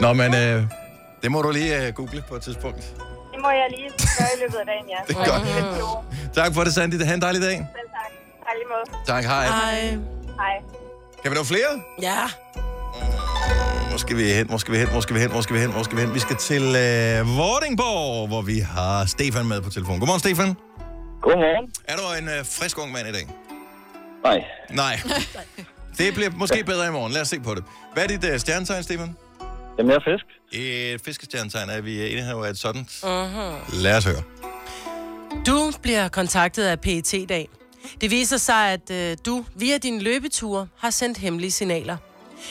A: Nå, men øh, det må du lige øh, google på et tidspunkt.
G: *laughs* Det må jeg lige gøre i løbet af dagen, ja.
A: Det er godt. Tak for det, Sandy. Ha' en dejlig dag.
G: Selv tak. Tak i lige måde.
A: Tak, hej.
B: Ej.
G: Hej.
A: Kan vi nå flere?
B: Ja.
A: Hvor skal vi hen? Hvor skal vi hen? Hvor skal vi hen? Hvor skal vi hen? Hvor skal vi hen? Vi skal til øh, Vordingborg, hvor vi har Stefan med på telefon. Godmorgen, Stefan.
H: Godmorgen.
A: Er du en øh, frisk ung mand i dag?
H: Nej, *laughs*
A: Nej. Det bliver måske bedre i morgen. Lad os se på det. Hvad er dit øh, stjernetegn, Stefan?
H: Jamen, jeg er fisk.
A: Et fiskestjernetegn er vi inde her, er et sådan.
B: 嗯
A: Lad os høre.
B: Du bliver kontaktet af PET i dag. Det viser sig, at øh, du via dine løbeture har sendt hemmelige signaler.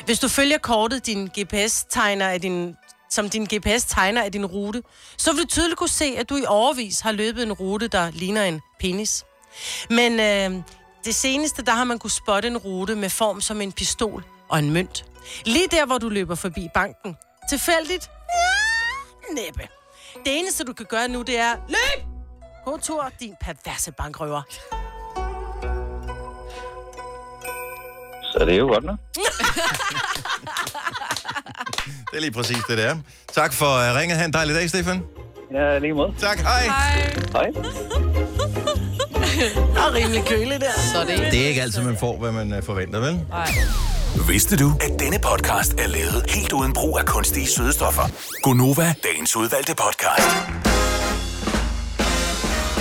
B: Hvis du følger kortet, din GPS tegner af din, som din GPS tegner af din rute, så vil du tydeligt kunne se, at du i overvis har løbet en rute, der ligner en penis. Men øh, det seneste, der har man kunne spotte en rute med form som en pistol og en mønt. Lige der, hvor du løber forbi banken. Tilfældigt? Ja, næppe. Det eneste, du kan gøre nu, det er løb! God tur, din perverse bankrøver.
H: Så det er jo godt nok.
A: Det er lige præcis det, det er. Tak for øh, ringet. Ha' en dejlig dag, Stefan.
H: Ja, lige måde.
A: Tak, hej.
H: Hej.
B: Og rimelig kølig der.
D: Så er det ikke.
A: Det er ikke altid, man får, hvad man øh, forventer, vel?
E: Vidste du, at denne podcast er lavet helt uden brug af kunstige sødestoffer? Gonova, dagens udvalgte podcast.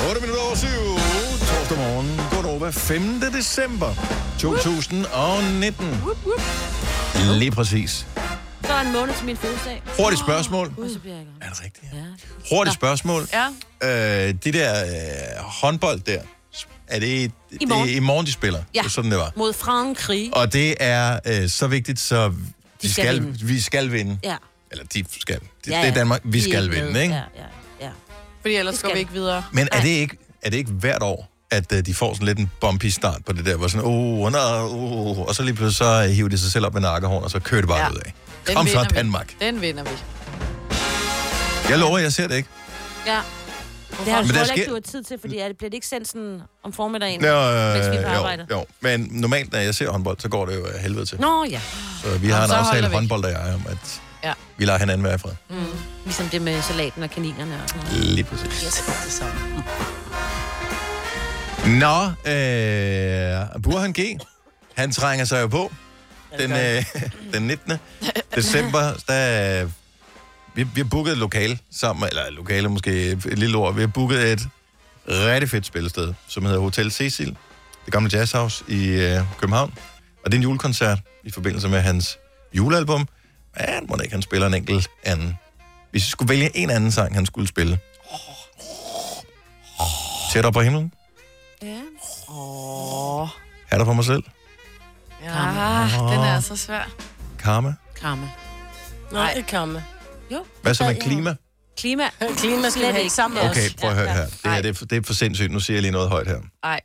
A: 8 minutter over 7. Torsdag morgen. Godnova. 5. december 2019. Lige præcis.
C: Så er en måned til min fødselsdag.
A: Hurtigt spørgsmål.
C: Gud, så bliver jeg i gang.
A: Er det rigtigt?
C: Ja.
A: Hurtigt spørgsmål.
D: Ja.
A: Øh, de der øh, håndbold der, er det i, det
C: morgen.
A: er i morgen, de spiller? Det
C: Ja.
A: var Sådan det var.
C: Mod Frankrig.
A: Og det er øh, så vigtigt, så de, de
C: skal
A: skal,
C: vinde.
A: skal vi skal vinde.
C: Ja.
A: Eller de skal. Det, ja,
C: Ja,
A: det er
C: ja.
A: Danmark. Vi
C: er
A: skal
C: med.
A: vinde, ikke?
C: Ja, ja, ja.
D: Fordi ellers går
C: skal
D: vi
C: vi.
D: ikke videre.
A: Men er det ikke, er det ikke hvert år, at øh, de får sådan lidt en bumpy start på det der, hvor sådan, åh, oh, no, oh, og så lige pludselig så øh, hiver de sig selv op med nakkehorn, og så kører det bare ja.
D: Ja.
A: ud af.
D: Den
A: Kom så,
D: vinder vi.
A: Danmark.
D: Den vinder vi.
A: Jeg lover, jeg ser det ikke.
C: ja. Det har
A: Men
C: du
A: der
C: heller ikke,
A: sker-
C: du har tid til, fordi er det, bliver det ikke sendt sådan om formiddagen, mens vi er på
A: Nå,
C: arbejde?
A: øh, jo, jo, men normalt, når jeg ser håndbold, så går det jo af helvede til.
C: Nå ja,
A: Så vi har en
D: så holder
A: aftale
D: vi.
A: håndbold, der jeg om, at
D: Ja.
A: vi lader hinanden være i fred.
C: ligesom det med salaten og kaninerne og sådan noget.
A: Lige præcis. Nå, øh, Burhan G, han trænger sig jo på. Den, øh, *laughs* den 19. december, der, øh, vi, vi har booket et lokale sammen, eller et lokale måske et lille ord. Vi har booket et rigtig fedt spillested, som hedder Hotel Cecil, det gamle jazzhouse i øh, København. Og det er en julekoncert i forbindelse med hans julealbum. Men må da ikke, han spiller en enkelt anden. Hvis jeg skulle vælge en anden sang, han skulle spille. Tæt op på himlen.
C: Ja.
A: Er der for mig selv? Ah.
D: Ja,
C: Ah,
B: Ah,
D: den er
B: altså
C: altså
D: så svær.
A: Karma.
C: Kramme.
B: Nå, det kommer.
C: Jo.
A: Hvad så
C: Ja,
A: med
C: ja.
A: klima?
C: Klima.
B: Klima skal vi
C: Slet
B: have
C: ikke.
B: sammen med
A: Okay,
B: os.
A: prøv at høre her. Det, her,
D: Nej.
A: det, er, for- det er for sindssygt. Nu siger jeg lige noget højt her.
D: Nej,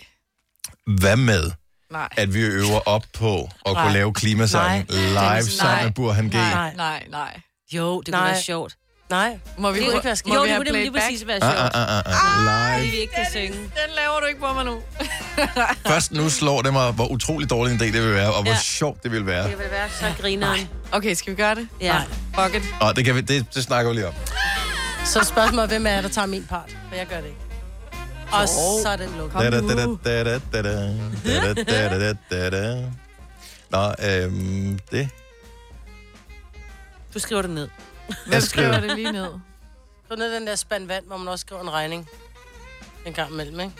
A: Hvad med,
D: nej.
A: at vi øver op på at kunne
B: Nej.
A: lave klimasangen
B: Nej.
A: live sammen med Burhan G?
D: Nej, nej, nej.
C: Jo, det kunne
B: Nej.
C: være sjovt.
B: Nej.
D: Må vi,
B: Det
D: det
B: kunne
D: må,
B: ikke være skidt.
D: må
C: jo,
D: vi
C: det
D: have
C: kunne nemlig lige
D: playback?
C: præcis være
A: Ah,
C: sjovt.
A: ah, ah, ah, ah.
C: Fordi
A: Live.
C: vi ikke kan synge.
D: Den laver du ikke på mig nu.
A: Først nu slår det mig, hvor utrolig dårlig en idé det vil være, og hvor
C: Ja.
A: sjovt det vil være.
C: Det vil være så grineren.
D: Okay, skal vi gøre det?
C: Ja.
D: Fuck it.
A: Og det, kan vi, det, det snakker vi lige om.
B: Så spørgsmålet, hvem er det, der tager min part? For jeg gør det ikke. Og så er den lukket.
A: Da, da, da, da, da, da, da, da, da, da, da, da, da, da. Nå, øhm, det...
C: Du skriver det ned.
D: Hvem skriver det lige ned?
B: Skriv ned den der spand vand, hvor man også skriver en regning. En gang imellem, ikke?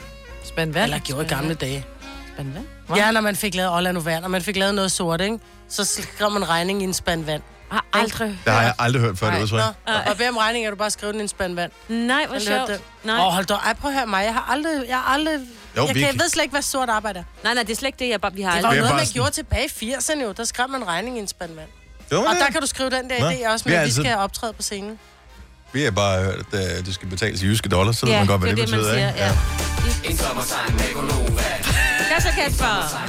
D: Spænd vand.
B: Eller gjorde i gamle dage.
C: Spændende.
D: Hva?
B: Ja, når man fik lavet Ola Novand, og man fik lavet noget sort, ikke? Så skrev man regning i en spand vand.
C: Har Ah, aldrig.
A: Det har jeg aldrig hørt før, det udtryk.
B: Nå, og hvem regning er du bare skrevet den i en spand vand?
C: Nej, hvor
B: Har du hørt
C: sjovt.
B: det?
C: Nej.
B: Åh, hold da. Ej, prøv at høre mig. Jeg har aldrig... Jeg, har aldrig,
A: Jo,
B: jeg,
A: vi
B: kan, jeg
A: kan-
B: ved slet ikke, hvad sort arbejde er.
C: nej, nej, det er slet ikke det, jeg bare, vi har
B: Det var
A: Det
B: jo
A: er
C: aldrig.
B: noget,
A: bare
B: man
A: sådan-
B: gjorde tilbage i 80'erne jo. Der skrev man regning i en spand vand.
A: Det var
B: Og
A: det.
B: der kan du skrive den der
A: Nå,
B: idé også
A: vi altså-
B: med,
A: er
B: at vi
A: altid-
B: skal optræde på scenen.
A: Vi har bare hørt, at øh, det skal betales i jyske dollars, så ved
C: Ja,
A: man godt, hvad
C: det
A: det,
C: er det,
A: betyder.
C: man siger,
A: ikke?
C: ja. Hvad så, Kasper?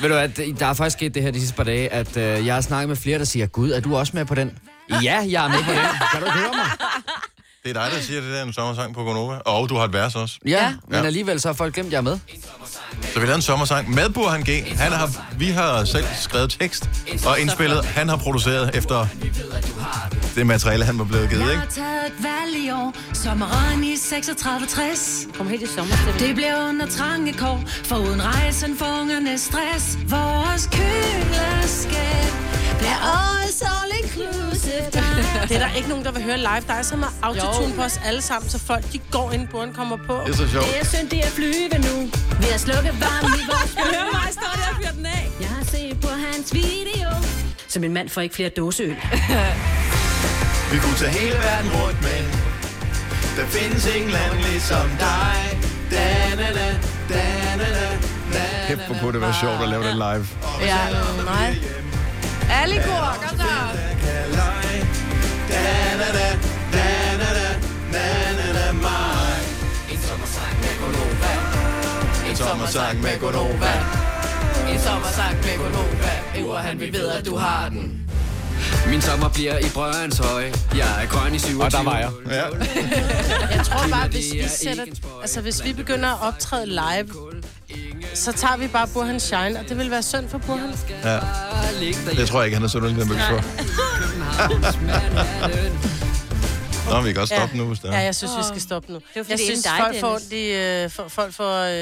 I: Ved du hvad, der er faktisk sket det her de sidste par dage, at øh, jeg har snakket med flere, der siger, Gud, er du også med på den? Ja, jeg er med på den. Kan du ikke høre mig?
A: Det er dig, der siger, det der er en sommersang på Gonova. Og du har et vers også.
I: Ja,
C: Ja.
I: ja. men alligevel så har folk glemt, jeg er med.
A: Så vi lavede en sommersang med Burhan G. Han har, vi har selv skrevet tekst og indspillet. Han har produceret efter det materiale, han var blevet givet, ikke?
J: taget et valg i år, sommeren i 36-60.
C: Kom helt i sommer til det.
J: Det blev under trange kår, for uden rejsen for ungerne stress. Vores køleskab bliver årets all inclusive
B: Det er der ikke nogen, der vil høre live. Der er så meget autotune på os alle sammen, så folk de går ind, buren kommer på.
A: Det er så sjovt.
J: Det er synd, det er flyve nu. Vi
B: *laughs*
J: har slukket varmen i vores
C: Hør mig, står der og fyrer den af.
J: Jeg har set på hans video,
K: Så min mand får ikke flere dåseøl.
L: Vi kunne tage hele verden rundt, men der findes ingen land ligesom dig. Da-na-na, da-na-na, da-na-na.
A: Kæft, hvor kunne det være sjovt at lave det live.
D: Ja, nej. Alle i kor, kom så.
L: Da-na-na, da-na-na, da-na-na, mig. En sommersang med Gonova. En sommersang med Gonova.
D: En sommersang med Gonova. Øver han, vi ved, at du har den.
I: Min sommer bliver i Brørens Høje. Jeg er grøn i 27. Og der var jeg. Ja.
B: Jeg tror bare, hvis vi, sætter, altså, hvis vi begynder at optræde live, så tager vi bare Burhan Shine, og det vil være synd for Burhan.
A: Ja. Det tror jeg ikke, han er sådan en nervøs for. *laughs* Nå, vi kan godt stoppe nu, hvis det er.
B: Ja, jeg synes, vi skal stoppe nu.
C: Det var fordi,
B: jeg
C: det er
B: synes,
C: inden
B: folk
C: dig,
B: får,
C: Dennis.
B: de, øh, for, folk får øh,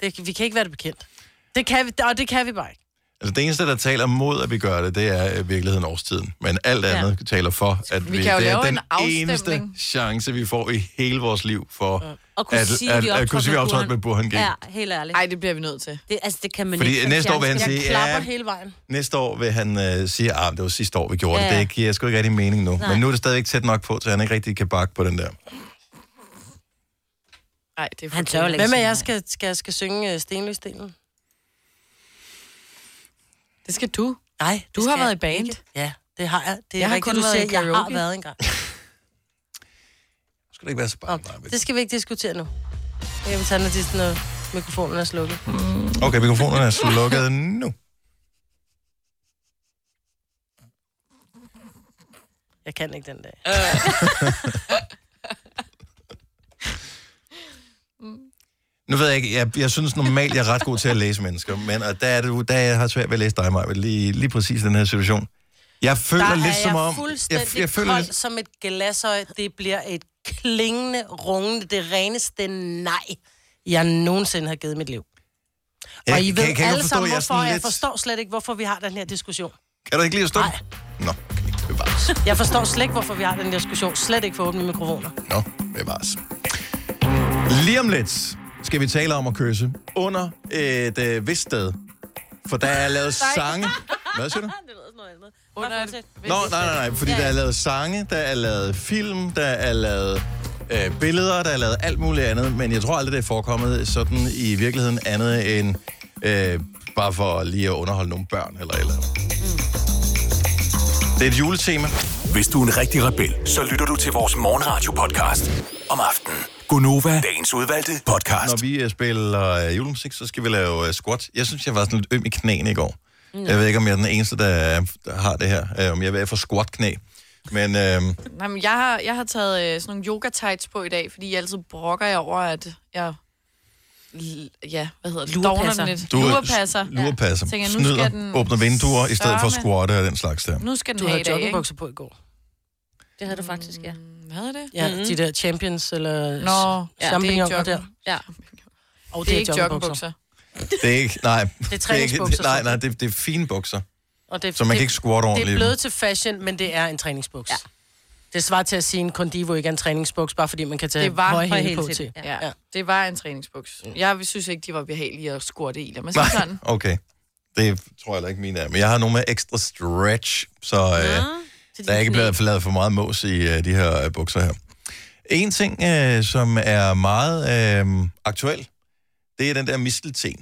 B: det, vi kan ikke være det bekendt. Det kan vi, og det kan vi bare ikke.
A: Altså, det eneste, der taler mod, at vi gør det, det er i virkeligheden årstiden. Men alt
B: Ja.
A: andet taler for, at vi,
B: kan jo
A: det er
B: lave
A: den
B: en afstemning.
A: eneste chance, vi får i hele vores liv for
C: Og kunne
A: at,
C: sige,
A: at,
C: vi
A: at, at kunne sige, vi
C: optrådte
A: optrådte med Burhan G.
C: Ja, helt ærligt.
D: Nej, det bliver vi nødt til.
C: Det, altså, det kan man
A: Fordi
C: ikke. få
A: næste år vil han
C: fjernsyn.
A: sige,
B: Klapper
A: Ja.
B: hele vejen.
A: Næste år vil han øh, sige, at ah, det var sidste år, vi gjorde
B: Ja,
A: ja. det.
B: ja.
A: Det giver sgu ikke rigtig mening nu.
B: Nej.
A: Men nu er det stadigvæk tæt nok på, så han ikke rigtig kan bakke på den der.
D: Nej, det er for
B: Han
D: dumt.
B: tør ikke. Hvem af jer skal, skal, skal synge øh, Stenløsdelen?
D: Det skal du.
B: Nej,
D: Du
B: det
D: har
B: skal
D: været i
B: jeg
D: band.
B: ikke. Ja, det har jeg. Det er
D: Jeg har
B: rigtigt,
D: kun
B: du
D: været
B: siger,
D: i
B: jeg har
D: karaoke.
B: været engang.
A: Skal det ikke være så bare
B: Det skal vi ikke diskutere nu. Jeg vil tage noget til, når mikrofonen er slukket.
A: Okay, mikrofonen er slukket nu.
B: Jeg kan ikke den dag. *laughs*
A: Nu ved jeg ikke, jeg, jeg synes normalt, jeg er ret god til at læse mennesker, men og der, er det, jo- der jeg har svært ved at læse dig, Maja, lige, lige præcis i den her situation. Jeg føler
B: Der
A: lidt
B: er
A: som
B: jeg
A: om...
B: fuldstændig
A: jeg føler
B: kold
A: lidt,
B: som et glasøj. Det bliver et klingende, rungende, det reneste nej, jeg nogensinde har givet mit liv.
A: jeg,
B: og I
A: kan-
B: ved
A: kan, ikke
B: alle
A: forstå,
B: sammen,
A: jeg er
B: hvorfor.
A: sådan
B: Jeg,
A: lidt-
B: forstår slet ikke, hvorfor vi har den her diskussion.
A: Kan du ikke lige at stoppe? Nå, bevares.
B: Jeg forstår slet ikke, hvorfor vi har den her diskussion. Slet ikke for åbne mikrofoner.
A: Nå, bevares. Lige om lidt skal vi tale om at kysse under et øh, vist sted. For der er lavet sange... Hvad siger du?
D: Under et...
A: Nå, nej, nej, nej, fordi ja. der er lavet sange, der er lavet film, der er lavet øh, billeder, der er lavet alt muligt andet, men jeg tror aldrig, det er forekommet sådan i virkeligheden andet end øh, bare for lige at underholde nogle børn eller et eller andet. Det er et juletema.
E: Hvis du er en rigtig rebel, så lytter du til vores morgenradio-podcast om aftenen. Gunova, dagens udvalgte podcast.
A: Når vi øh, spiller øh, julemusik, så skal vi lave øh, squat. Jeg synes, jeg var sådan lidt øm i knæene i går.
D: Mm.
A: Jeg ved ikke, om jeg er den eneste, der, øh, der har det her. Øh, om jeg er ved at få squat-knæ. Men øh,
D: Nej, men jeg har, jeg har taget øh, sådan nogle yoga tights på i dag, fordi jeg altid brokker jeg over, at jeg... l- Ja, hvad hedder det?
A: Lurepasser.
D: Dovner den lidt.
A: Du er-
D: lurepasser.
A: lurepasser,
D: Ja.
A: ja.
D: Tænker, jeg, nu
A: snyder,
D: skal den
A: åbner vinduer, i stedet for at
D: sørme-
A: squatte og den slags der.
D: Nu skal den
B: Du
D: have
B: havde
D: i dag, ikke?
B: joggingbukser på i går.
C: Det havde du faktisk, ja.
D: Havde det?
B: Ja,
D: Mhm.
B: mm-hmm. de der champions eller
D: Nå, ja, det er
B: champignoner
D: ikke
B: der.
D: jogging.
C: Ja.
B: Og
D: det, er ikke joggingbukser.
A: Det er ikke, nej. Det er ikke,
B: træningsbukser,
A: nej, nej, det, det er fine bukser.
B: Og det,
A: Så man kan
B: det-
A: ikke squatte ordentligt
B: Det
A: i
B: er
A: dem.
B: blevet til fashion, men det er en træningsbuks. Ja. Det svarer til at sige, at en Condivo ikke er en træningsbuks, bare fordi man kan tage
D: Det var
B: høje hæle på til.
D: Ja. ja. Det var en træningsbuks.
A: Mm.
D: Jeg synes ikke, de var behagelige at skurte i. Lad mig sige
A: *laughs*
D: sådan.
A: Okay. Det tror jeg heller ikke, mine er. Men jeg har nogle med ekstra stretch, så øh, der er ikke blevet lavet for meget mås i øh, de her øh, bukser her. En ting, øh, som er meget øh, aktuel, det er den der mistelten.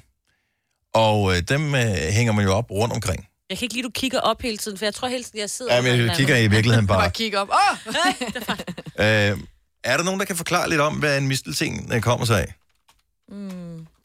A: Og øh, dem øh, hænger man jo op rundt omkring.
C: Jeg kan ikke lide, du kigger op hele tiden, for jeg tror hele tiden, jeg sidder...
A: Ja, men jeg kigger i
D: *laughs*
A: virkeligheden bare. Bare
D: kigger op. Åh!
C: *laughs*
A: Øh, er der nogen, der kan forklare lidt om, hvad en mistelten øh, kommer sig af?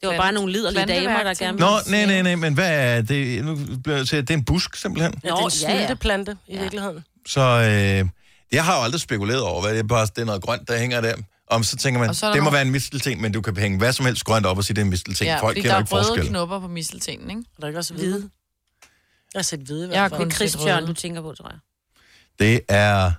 C: Det var bare nogle liderlige damer, der gerne
A: Nå, nej, nej, nej, men hvad er det? Nu bliver jeg til, at det er en busk, simpelthen.
B: Ja, det er en
C: Nå, ja, ja.
B: snylteplante i virkeligheden.
A: Så øh, jeg har jo aldrig spekuleret over, hvad det er, bare det er noget grønt, der hænger der. Om så tænker man,
D: Og
A: så
D: så er
A: det
D: der
A: må
D: nogle-
A: være en mistelting, men du kan hænge hvad som helst grønt op og sige, det er en mistelting. Ja, Folk
D: fordi
A: kender
D: der
A: ikke
D: er røde
A: forskel.
D: knopper på misteltenen, ikke?
B: Og der er ikke også hvide. Jeg har set hvide i
D: Jeg har
B: hvert fald.
D: kun
B: Det er
D: set
B: Christian,
D: røde.
B: du
C: tænker på, tror jeg.
A: Det er...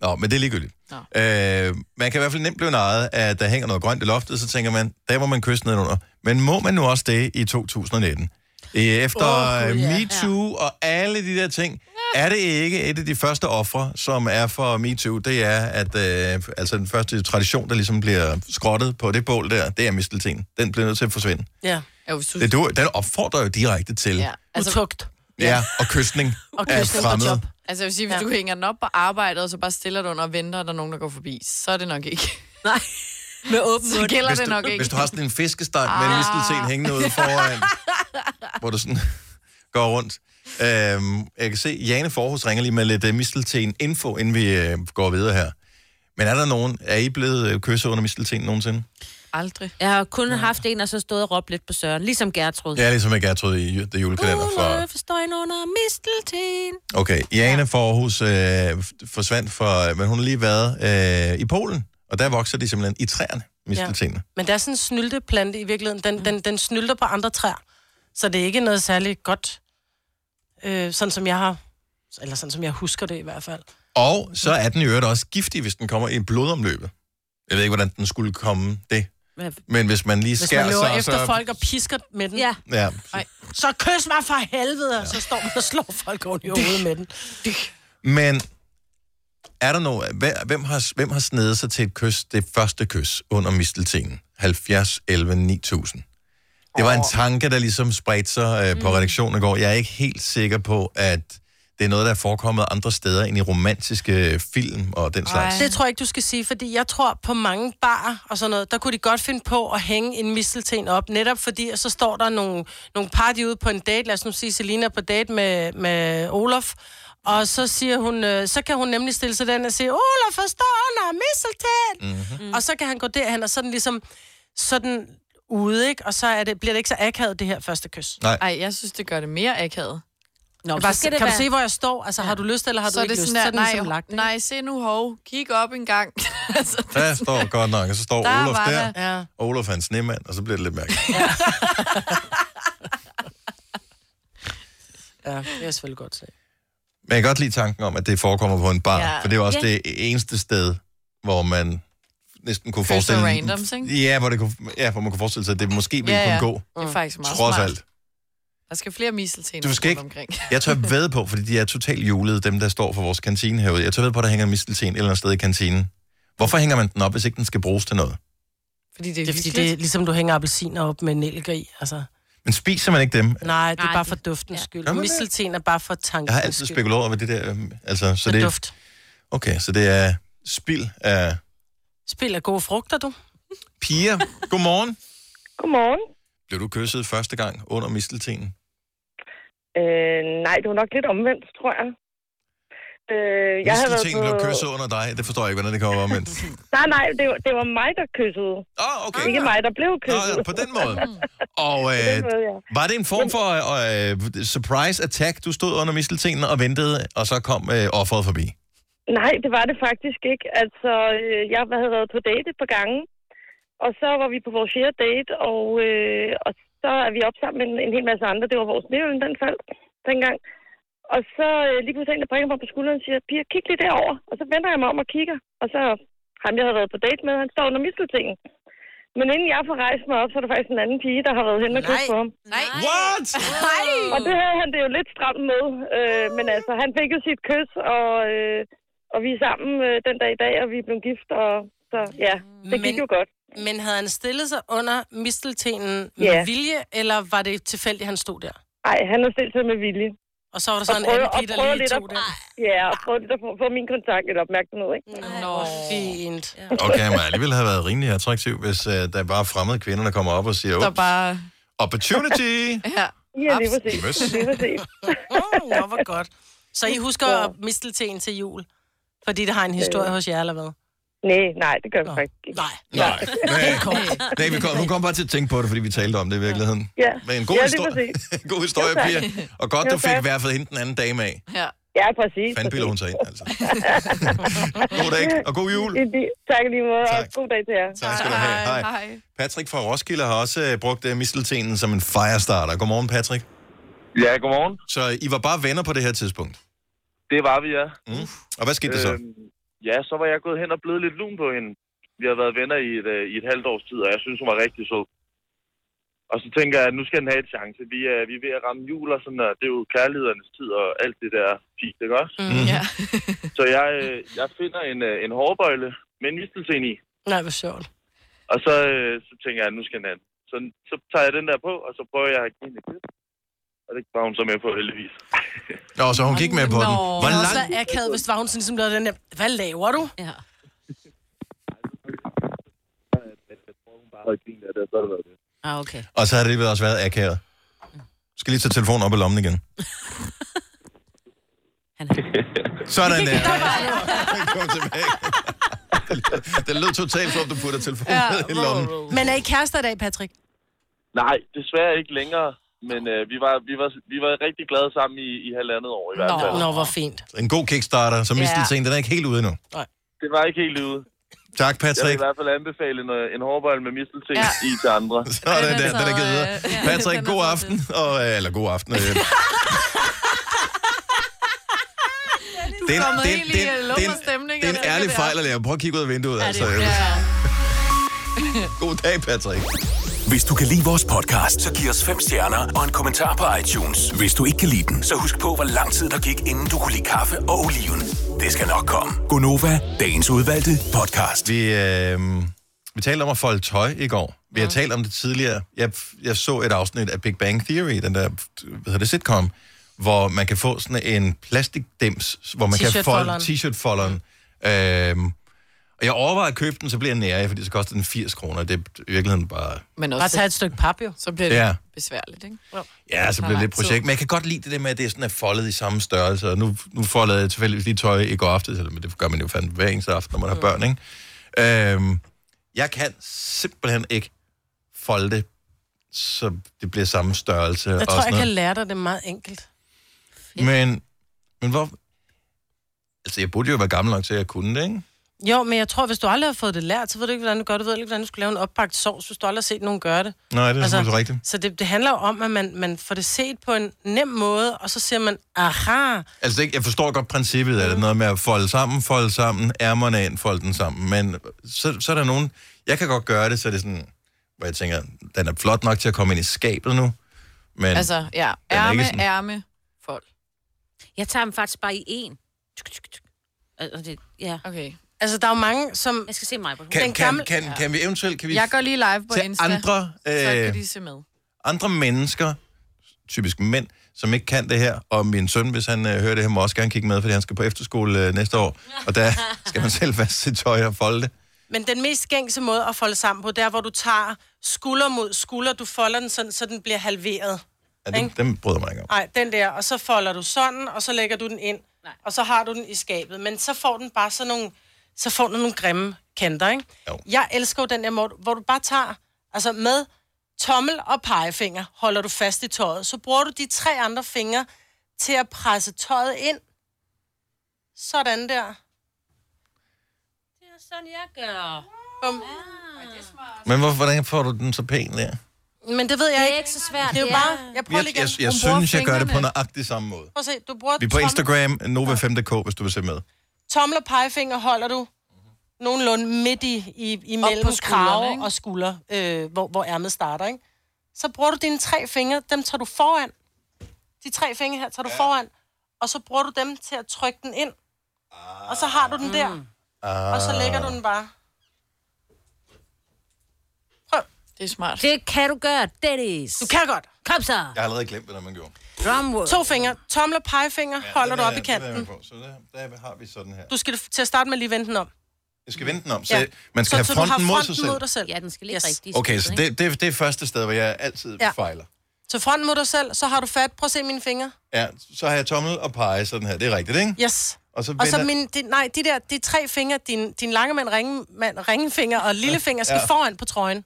A: Nå, men det er ligegyldigt. Øh, man kan i hvert fald nemt blive nejet, at der hænger noget grønt i loftet, så tænker man, der må man kysse nedenunder. Men må man nu også det i 2019? Øh, Efter
E: Åh,
A: oh,
E: gud, ja.
A: yeah. MeToo og alle de der ting, er det ikke et af de første ofre, som er for MeToo, det er, at øh, altså den første tradition, der ligesom bliver skrottet på det bål der, det er mistelten. Den bliver nødt til at forsvinde.
B: Ja.
D: ja hvis du...
A: Det, du, den opfordrer jo direkte til.
D: Ja,
A: Ja.
D: altså,
B: Utugt.
A: Ja, og kysning
D: Og
A: af
D: kysning på
A: fremmede.
D: job. Altså jeg vil sige, hvis ja. du hænger den op på arbejdet, og så bare stiller den under og venter, og der er nogen, der går forbi, så er det nok ikke. *laughs*
C: Nej. Med åben
D: Så gælder
A: hvis
D: det
A: du,
D: nok ikke.
A: Hvis du har sådan en fiskestang med en
D: Ah.
A: mistelten hængende ude foran, hvor du sådan *laughs* går rundt. Øhm, jeg kan se, Jane Forhus ringer lige med lidt uh, mistelten info, inden vi uh, går videre her. Men er der nogen, er I blevet uh, kysset under mistelten nogensinde?
D: Aldrig.
C: Jeg har kun haft en, og så stået og råbt lidt på Søren. Ligesom Gertrud.
A: Ja, ligesom jeg Gertrud i ju- det julekalender fra...
C: Uløf, støjen under mistelten.
A: Okay, Jane Forhus øh, f- forsvandt fra... Men hun har lige været øh, i Polen, og der vokser de simpelthen i træerne, misteltenene.
B: Men der er sådan en snylteplante i virkeligheden. Den, den, den snylter på andre træer. Så det er ikke noget særligt godt, øh, sådan som jeg har, eller sådan som jeg husker det i hvert fald.
A: Og så er den i øvrigt også giftig, hvis den kommer i blodomløbet. Jeg ved ikke, hvordan den skulle komme det. Men hvis man lige
B: Hvis
A: skærer
B: man løber
A: sig, og
B: efter
A: så...
B: folk og pisker med den.
C: Ja.
A: Ja.
B: Ej. Så kys mig for helvede, og så står man og slår folk oven i hovedet med den.
A: Men er der noget... hver- Hvem har, hvem har snedet sig til et kys, det første kys under misteltingen? 70, 11, 9000. Det var en tanke, der ligesom spredte sig
B: Mm.
A: øh, på redaktionen i går. Jeg er ikke helt sikker på, at det er noget, der er forekommet andre steder end i romantiske film og den slags.
B: Det tror jeg ikke, du skal sige, fordi jeg tror på mange barer og sådan noget, der kunne de godt finde på at hænge en mistelten op, netop fordi, at så står der nogle, nogle party ude på en date, lad os nu sige, Selina er på date med, med Olof, og så siger hun, øh, så kan hun nemlig stille sig den og sige, Olof forstår under mistelten,
A: Mhm.
B: mm-hmm. og så kan han gå derhen, og sådan ligesom, sådan ude, ikke? Og så er det, bliver det ikke så akavet, det her første kys.
A: Nej.
D: Ej, jeg synes, det gør det mere akavet.
B: Nå, bare, kan du se, hvor jeg står? Altså, har du lyst, eller har
D: så
B: du
D: er
B: ikke
D: det
B: lyst?
D: Sådan,
B: så er
D: nej,
B: den ligesom lagt.
D: nej, se nu, hov. Kig op en gang. *laughs* altså,
A: Der står godt nok, og så står
D: Der
A: Olof
D: var
A: der,
D: der. Ja.
A: og Olof er en snemand, og så bliver det lidt mærkeligt.
B: Ja, det er jeg selvfølgelig godt se.
A: Men jeg kan godt lide tanken om, at det forekommer på en bar,
B: Ja.
A: ja. for det er også
B: Ja.
A: det eneste sted, hvor man næsten kunne
D: Kysser
A: forestille...
D: randoms, ikke?
A: Ja, hvor, det kunne, ja, hvor man kunne forestille sig, at det måske ville ja, ja. kunne gå.
D: Det er faktisk meget
A: Trods
D: smart.
A: alt.
D: Der skal flere misteltener
A: Du skal ikke...
D: omkring.
A: *laughs* Jeg
D: *laughs*
A: tør ved på, fordi de er totalt julede, dem der står for vores kantine herude. Jeg tør ved på, at der hænger en mistelten et eller andet sted i kantinen. Hvorfor hænger man den op, hvis ikke den skal bruges til noget?
B: Fordi det er, det er fordi,
D: hyggeligt.
B: det er ligesom, du hænger appelsiner op med nælker i. Altså.
A: Men spiser man ikke dem?
B: Nej, det er bare for duftens ja. skyld.
A: Gør man det?
B: Mistelten er bare for
A: Jeg
B: tankens
A: har altid
B: skyld.
A: spekuleret over det der... øhm, Altså, så
B: For
A: det,
B: duft.
A: Okay, så det er spild af
B: Spil af gode frugter, du.
A: piger. Godmorgen.
K: Godmorgen.
A: Blev du kysset første gang under misteltenen?
K: Øh, nej, det var nok lidt omvendt, tror jeg. Øh, jeg havde været
A: Misteltenen
K: på...
A: blev kysset under dig. Det forstår jeg ikke, hvordan det kommer
K: *laughs*
A: omvendt.
K: Nej, nej, det var, det var mig, der kyssede.
A: Åh, oh, okay.
K: Ikke mig, der blev
A: Nå,
K: kysset.
A: ja, på
K: *laughs*
A: den måde. Og
K: På den
A: øh,
K: måde, ja.
A: var det en form for øh, surprise attack? Du stod under misteltenen og ventede, og så kom øh, offeret forbi.
K: Nej, det var det faktisk ikke. Altså, øh, jeg havde været på date et par gange, og så var vi på vores fjerde date, og, øh, og så er vi op sammen med en, en hel masse andre. Det var vores nævn, den faldt dengang. Og så øh, lige pludselig en, der bringer mig på skulderen og siger, Pia, kig lige derover. Og så vender jeg mig om og kigger, og så ham, jeg havde været på date med, han står under misteltingen. Men inden jeg får rejst mig op, så er der faktisk en anden pige, der har været hen og kysset på ham.
D: Nej.
A: What?
K: Nej. Og det havde han det jo lidt stramt med. Øh, men altså, han fik jo sit kys, og, øh, og vi er sammen øh, den dag i dag, og vi er blevet gift, og så ja, det gik
B: Men-
K: jo godt.
B: Men havde han stillet sig under misteltenen med
K: Ja.
B: vilje, eller var det tilfældigt, han stod der?
K: Nej, han har stillet sig med vilje.
B: Og så var der så en
K: prøver-
B: anden pige,
K: og
B: der
K: prøver
B: lige
K: lidt
B: tog
K: at-
B: det.
K: Ja, og prøvede lidt at få, få min kontakt lidt opmærksomhed, ikke?
B: Nå, fint.
A: Okay, man alligevel have været rimelig attraktiv, hvis øh, der bare er fremmede kvinder, der kommer op og siger,
D: Der
A: "Ups,
D: bare...
B: *laughs*
A: opportunity!
D: Ja,
K: ja lige præcis.
A: Møs.
K: Lige præcis.
B: Mm, Nå, hvor godt. Så I husker mistelten til jul? Fordi det har en historie
K: Øh.
B: hos jer, eller hvad?
K: Nej, nej, det gør vi faktisk ikke.
B: Nej.
A: Nej,
B: *laughs*
A: nej, nej vi kom, hun kom bare til at tænke på det, fordi vi talte om det i virkeligheden.
K: Ja.
A: Men en god
K: ja, lige
A: historie.
K: præcis.
A: *laughs* God historie,
K: Jo, tak.
A: Pia. Og godt,
K: Jo,
A: du fik
K: tak.
A: i hvert fald hende den anden dame af.
D: Ja.
K: Ja, præcis.
A: Fanden piller hun sig *laughs* ind, altså. God dag, og god jul.
K: *laughs* I lige- Tak i lige måde, og god dag til jer.
A: Tak skal du have. Hej. Patrick fra Roskilde har også øh, brugt øh, misteltenen som en firestarter. Godmorgen, Patrick.
M: Ja, godmorgen.
A: Så I var bare venner på det her tidspunkt.
M: Det var vi, ja.
A: Mm. Og hvad skete der så?
M: Øhm, ja, så var jeg gået hen og blevet lidt lun på hende. Vi har været venner i et, øh, i et halvt års tid, og jeg synes, hun var rigtig sød. Og så tænker jeg, at nu skal den have et chance. Vi er, vi er ved at ramme jul og sådan, og det er jo kærlighedernes tid og alt det der fint, ikke også?
B: Mm. Ja.
M: *laughs* Så jeg, øh, jeg finder en, øh, en hårbøjle med en mistelsen i,
B: Nej, hvor sjovt.
M: og så, øh, så tænker jeg, at nu skal den have den. Så, så tager jeg den der på, og så prøver jeg at give hende et kys. Og det var hun så med på, heldigvis.
A: Nå, så hun gik med på den. Hvor
B: Det har også
A: lang,
B: været akavet, hvis det var hun sådan, som lavede ligesom den der, hvad laver du?
C: Ja.
M: Bare at grine af det, og så har det været det.
C: Ah, okay.
A: og så har det også været akavet. Skal lige tage telefonen op i lommen igen. Sådan der. *laughs* Kom tilbage. Det lød totalt, som om du putter telefonen
B: Ja.
A: ned i lommen.
B: Men er I kærester i dag, Patrick?
M: Nej, desværre ikke længere. Men øh, vi, var, vi, var, vi var rigtig glade sammen i, i halvandet år i hvert fald.
B: Nå, hvor fint.
A: En god kickstarter, så
M: Ja.
A: mistelten, den er ikke helt ude endnu.
M: Det var ikke helt ude.
A: Tak,
M: Jeg vil
A: Patrick.
M: i hvert fald anbefale en, øh, en hårbøjle med mistelting i til
A: *laughs*
M: andre.
A: Sådan der, den er givet videre. Patrick, god aften. Og, øh, eller god aften. øh. Det er en-
D: kommet
A: det er-
D: helt i,
A: det er-
D: øh,
A: det er
D: lummerstemning,
A: en- det er en
D: eller
A: ærlig
D: hvad det er.
A: fejl at lave. Prøv at kigge ud af vinduet. Altså. *laughs* God dag, Patrick.
E: Hvis du kan lide vores podcast, så giv os fem stjerner og en kommentar på iTunes. Hvis du ikke kan lide den, så husk på, hvor lang tid der gik, inden du kunne lide kaffe og oliven. Det skal nok komme.
A: Gonova, dagens udvalgte podcast. Vi, øh, vi talte om at folde tøj i går. Vi har talt om det tidligere. Jeg, jeg så et afsnit af Big Bang Theory, den der hvad hedder det, sitcom, hvor man kan få sådan en plastikdims, hvor man kan folde
L: T-shirt-folderen.
A: t-shirt-folderen. Øhm, og jeg overvejer at købe den, så bliver jeg nære, fordi så koster den 80 kroner. Det er i virkeligheden bare...
D: Men også,
B: Bare tage et stykke pap, jo.
D: Så bliver det
A: Ja.
D: ja. besværligt, ikke?
A: Ja, så bliver
D: Tager
A: det
D: lang
A: lidt projekt.
D: tid.
A: Men jeg kan godt lide det der med, at det er sådan er foldet i samme størrelse. Og nu, nu foldede jeg tilfældigvis lige tøj i går aftes, eller men det gør man jo fandme hver eneste aften, når man har
B: Mm.
A: børn, ikke? Øhm, jeg kan simpelthen ikke folde det, så det bliver samme størrelse.
B: Jeg
A: og
B: tror,
A: sådan
B: jeg
A: noget.
B: kan lære dig det meget enkelt.
A: Men, men hvor... Altså, jeg burde jo være gammel nok til, at jeg kunne det, ikke?
B: Jo, men jeg tror, hvis du aldrig har fået det lært, så ved du ikke, hvordan du gør det. Du ved ikke, hvordan du skal lave en opbagt sovs, hvis du aldrig har set nogen gøre det. Altså,
A: Nej, det er selvfølgelig rigtigt.
B: Så det, det handler jo om, at man, man får det set på en nem måde, og så siger man, aha,
A: Altså, ikke, jeg forstår godt princippet
D: Mm.
A: af det. Noget med at folde sammen, folde sammen, ærmerne ind, folde den sammen. Men så, så er der nogen... Jeg kan godt gøre det, så det er sådan... Hvor jeg tænker, den er flot nok til at komme ind i skabet nu. Men altså,
D: altså, ja.
A: den er ikke
D: Ærme,
A: sådan-
D: ærme, fold.
C: Jeg tager dem faktisk bare i en. Tuk, tuk, tuk. Og- og det- Ja.
D: Okay.
B: Altså, der er jo mange, som...
C: Jeg skal se mig på
A: kan, kan, kan, kan, vi eventuelt... Kan vi
D: Jeg går lige live på
A: til
D: Insta,
A: andre,
D: så
A: øh,
D: kan de se med.
A: andre mennesker, typisk mænd, som ikke kan det her, og min søn, hvis han øh, hører det her, må også gerne kigge med, fordi han skal på efterskole øh, næste år, og der skal man selv vaske sit tøj og folde det.
B: Men den mest gængse måde at folde sammen på, det er, hvor du tager skulder mod skulder, du folder den sådan, så den bliver halveret.
A: Ja, dem, dem bryder man ikke om.
B: Nej, den der, og så folder du sådan, og så lægger du den ind, Nej. og så har du den i skabet. Men så får den bare sådan nogle, så får den nogle grimme kanter, ikke?
A: Jo.
B: Jeg elsker jo den der måde, hvor du bare tager, altså med tommel og pegefinger, holder du fast i tøjet, så bruger du de tre andre fingre til at presse tøjet ind. Sådan der.
C: Det er sådan, jeg gør.
B: Bum.
A: Men hvor, hvordan får du den så pæn der?
B: Men det ved jeg ikke. Det er
C: ikke så svært.
B: Det er jo
C: Ja.
B: bare, jeg prøver
A: Jeg,
B: lige
A: jeg,
B: igen.
A: jeg
B: Hun bruger
A: synes, jeg gør det på
B: fingrene.
A: nøjagtig samme måde.
B: Prøv at se, du bruger
A: Vi er på
B: tommel-
A: Instagram, nova5.dk, hvis du vil se med.
B: Tommel og pegefinger holder du nogenlunde midt i, i imellem krave og skulder, øh, hvor, hvor ærmet starter, ikke? Så bruger du dine tre fingre, dem tager du foran. De tre fingre her tager du foran, og så bruger du dem til at trykke den ind. Og så har du den der,
A: Ah.
B: og så lægger du den bare. Prøv.
D: Det er smart.
C: Det kan du gøre, Dennis. Du
B: kan godt.
C: Kom så.
A: Jeg har allerede glemt, hvordan man gjorde.
C: Drumwood.
B: To fingre, tommel og pegefinger, ja, holder
A: Den
B: du op
A: er-
B: i kanten.
A: Den er jeg på. så der, der har vi sådan her.
B: Du skal f- til at starte med lige vente den om.
A: Jeg skal vende den om, så man skal
B: så
A: have
B: du har
A: fronten mod sig selv.
B: mod dig selv.
C: Ja, den skal ligge yes. rigtig
A: Okay, så det, det, det er første sted, hvor jeg altid
B: Ja.
A: ja. fejler.
B: Så fronten mod dig selv, så har du fat. Prøv at se mine fingre.
A: Ja, så har jeg tommel og pege sådan her. Det er rigtigt, ikke?
B: Yes.
A: Og så,
B: Og
A: vender,
B: så min, de, nej, de der, de tre fingre, din, din lange mand, ringe, mand, ringefinger og lillefinger skal
A: Ja.
B: ja. foran på trøjen.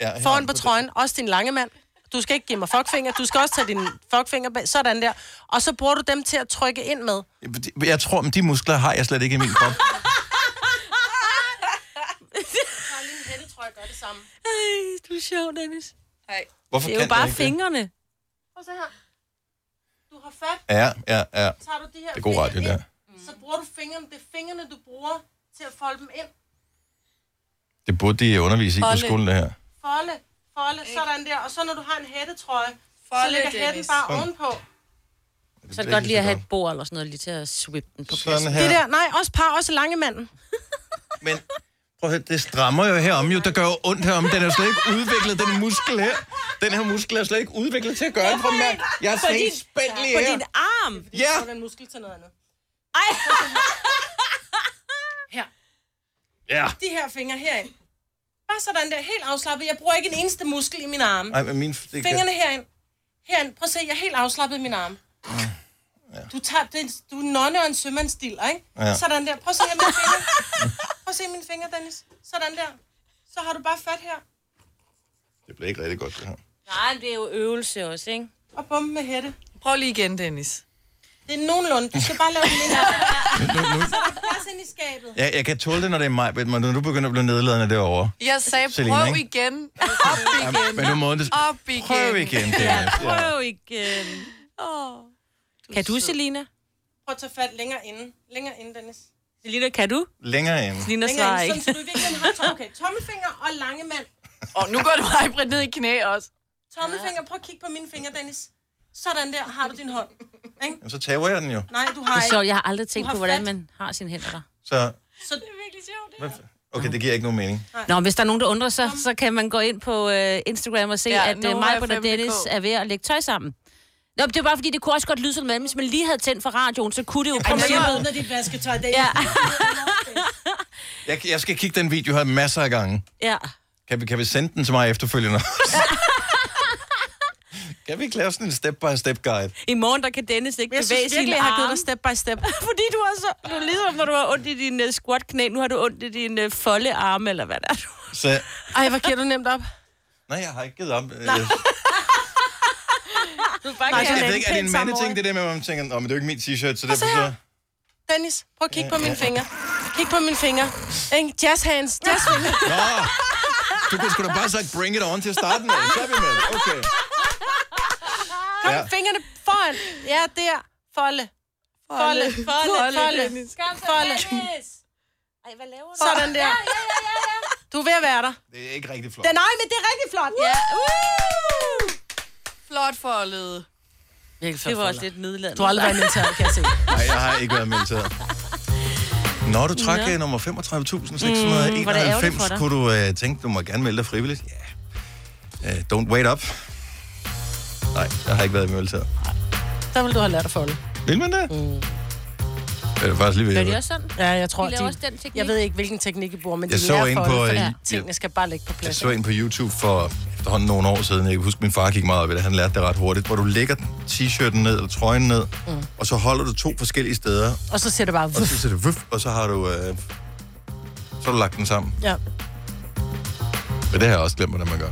A: ja, her
B: Foran
A: har
B: på
A: du-
B: trøjen, også din lange mand. Du skal ikke give mig fuckfinger, du skal også tage din fuckfinger bag, sådan der. Og så bruger du dem til at trykke ind
C: *laughs*
B: med.
A: Jeg tror, at de muskler har jeg slet ikke i min krop.
B: Det tror jeg gør det samme.
C: Ej, du er sjov, Dennis.
D: Hej.
A: Hvorfor
C: det er jo
A: kan jeg
C: bare
A: ikke det?
C: fingrene. Det?
B: Prøv så her. Du har fat,
A: Ja, ja, ja.
B: tager du de her
A: Det er god radio,
B: fingre
A: der.
B: ind, så bruger du fingrene, det er fingrene, du bruger til at folde dem ind.
A: Det burde de undervise i på
B: Folde.
A: skolen, det her.
B: Folde, folde, sådan der. Og så når du har en hættetrøje, så
D: Folde,
B: lægger hætten
D: Dennis.
B: bare
A: Sådan.
B: ovenpå.
C: Så er det
A: bliver
C: godt lige
A: ikke
C: at have et bord eller sådan noget, lige til at swippe den på
A: Sådan
C: pladsen.
A: her.
B: Det der, nej, også par, også lange manden.
A: Prøv at høre, det strammer jo herom, jo. Der gør jo ondt herom. Den er jo slet ikke udviklet, den muskel her. Den her muskel er slet ikke udviklet til at gøre det for mand. Jeg er
B: På
A: helt
B: din-
A: spændt lige
B: På
A: her.
B: din arm?
A: Ja.
B: Så den muskel til noget andet.
A: Ja.
B: De her fingre herind. Bare sådan der, helt afslappet. Jeg bruger ikke en eneste muskel i min arme.
A: Ej, men min... det kan-
B: Fingrene herind. Herind. Prøv at se, jeg er helt afslappet i min arm. Ja. Du, tager, det, er- du er en nonne og en sømandsdil, ikke?
A: Ja.
B: Ja. Sådan der. Prøv at se her mine fingre. Prøv at se mine fingre, Dennis. Sådan der. Så har du bare fat her.
A: Det bliver ikke rigtig godt, det her.
C: Nej, det er jo øvelse også, ikke?
B: Og bum med hætte.
D: Prøv lige igen, Dennis.
B: Det er nogenlunde. Du skal bare lave den ind.
A: *laughs* Nu, nu,
B: Så er der plads ind i skabet.
A: ja, jeg kan tåle det, når det er mig, men når du begynder at blive nedladende derovre.
D: Jeg sagde,
A: Selina,
D: prøv
A: ikke?
D: igen. Op igen.
A: men nu må det-
D: Op igen.
A: Prøv igen, Dennis. Ja,
C: Prøv igen. Oh. Kan du, Selina?
B: Prøv at tage fat længere inden. Længere inden, Dennis.
C: Selina, kan du?
A: Længere ind.
C: Selina svarer
B: inden,
C: ikke.
B: sådan, så du i virkeligheden har to- okay, tommelfinger og lange mand.
D: Og nu går du mig bredt ned i knæ også.
B: Tommelfinger, prøv at kigge på mine fingre, Dennis. Sådan der har du din hånd. Ikke?
A: Jamen, så taber jeg den jo.
B: Nej, du
C: Det
B: har
C: er
B: ikke.
C: sjovt, jeg har aldrig
B: Du
C: tænkt
B: har
C: på, hvordan
B: fat.
C: man har sine hænder der.
A: Så,
B: Så det er virkelig sjovt.
A: hvad f- okay, det giver ikke nogen mening.
C: Nå, men hvis der er nogen, der undrer sig, så kan man gå ind på øh, Instagram og se,
D: Ja,
C: ja, at øh,
D: Nova
C: mig og
D: 5.dk.
C: Dennis er ved at lægge tøj sammen. Nå, men det er bare fordi, det kunne også godt lyde sådan, men hvis man lige havde tændt for radioen, så kunne det jo
B: Ej,
C: komme
B: når jeg åbner dit vasketøj, det er
C: Ja.
A: Jeg, jeg skal kigge den video her masser af gange.
C: Ja.
A: Kan vi, kan vi sende den til mig efterfølgende? kan vi ikke lave sådan en step-by-step-guide?
C: I morgen, der kan Dennis ikke
B: jeg
C: bevæge
B: synes
C: sine
B: virkelig, jeg har givet
C: arme.
B: dig step by step.
C: *laughs* Fordi du har så... Du er ligesom, når du har ondt i din uh, squat-knæ, nu har du ondt i din uh, folde arme, eller hvad der er.
A: Så,
B: Ej, hvor giver du nemt op?
A: nej, jeg har ikke givet op. øh, Nej,
B: Du bare
A: Nej, jeg ved ikke, er det en mandeting, det der med, at man tænker, "Nå, men det er jo ikke min t-shirt, så derfor
B: her.
A: så...
B: Dennis, prøv at kigge på
A: Ja,
B: mine
A: ja.
B: fingre. Kig på mine fingre. Ikke? Jazz hands, jazz fingre.
A: Nå, du kunne sgu da bare have sagt, bring it on til starten med. Så er vi med. Okay.
B: Kom,
A: Ja.
B: fingrene foran. Ja, der. Folde. Folde, folde, folde. folde. folde.
C: Ej, hvad laver du?
B: Sådan der. Du er ved at være der.
A: Det er ikke rigtig flot.
B: Den, nej, men det er rigtig flot. Ja.
D: Flot foldet.
C: Det var også lidt middelandet.
B: Du har aldrig været militær, kan jeg se.
A: *laughs* Nej, jeg har ikke været militær. Når du trak
B: Nå.
A: øh, nummer
B: Mm, hvor er det ærgerligt for
A: 35.691,
B: dig.
A: kunne du øh, tænke, du må gerne melde dig frivilligt? Ja. Øh, don't wait up. Nej, jeg har ikke været i militær.
B: Der vil du have lært at folde.
A: Vil man det? Mm. Det er faktisk lige ved. at-
C: sådan?
B: Ja, jeg tror,
C: De laver
B: de,
C: også den teknik.
B: Jeg ved ikke, hvilken teknik I bruger, men
A: Jeg
B: de
A: så
B: lærer
A: en
B: folde,
A: på,
B: for
A: øh,
B: ja,
A: ja.
B: tingene skal bare ligge på plads.
A: Jeg så en på YouTube for efterhånden nogle år siden. Jeg kan huske, min far gik meget op i det. Han lærte det ret hurtigt. Hvor du lægger t-shirten ned, eller trøjen ned, mm. og så holder du to forskellige steder.
B: Og så ser det bare...
A: Og så siger det, vuff, og så har du, øh, så har du lagt den sammen.
B: Ja.
A: Men det har jeg også glemt, hvordan man gør.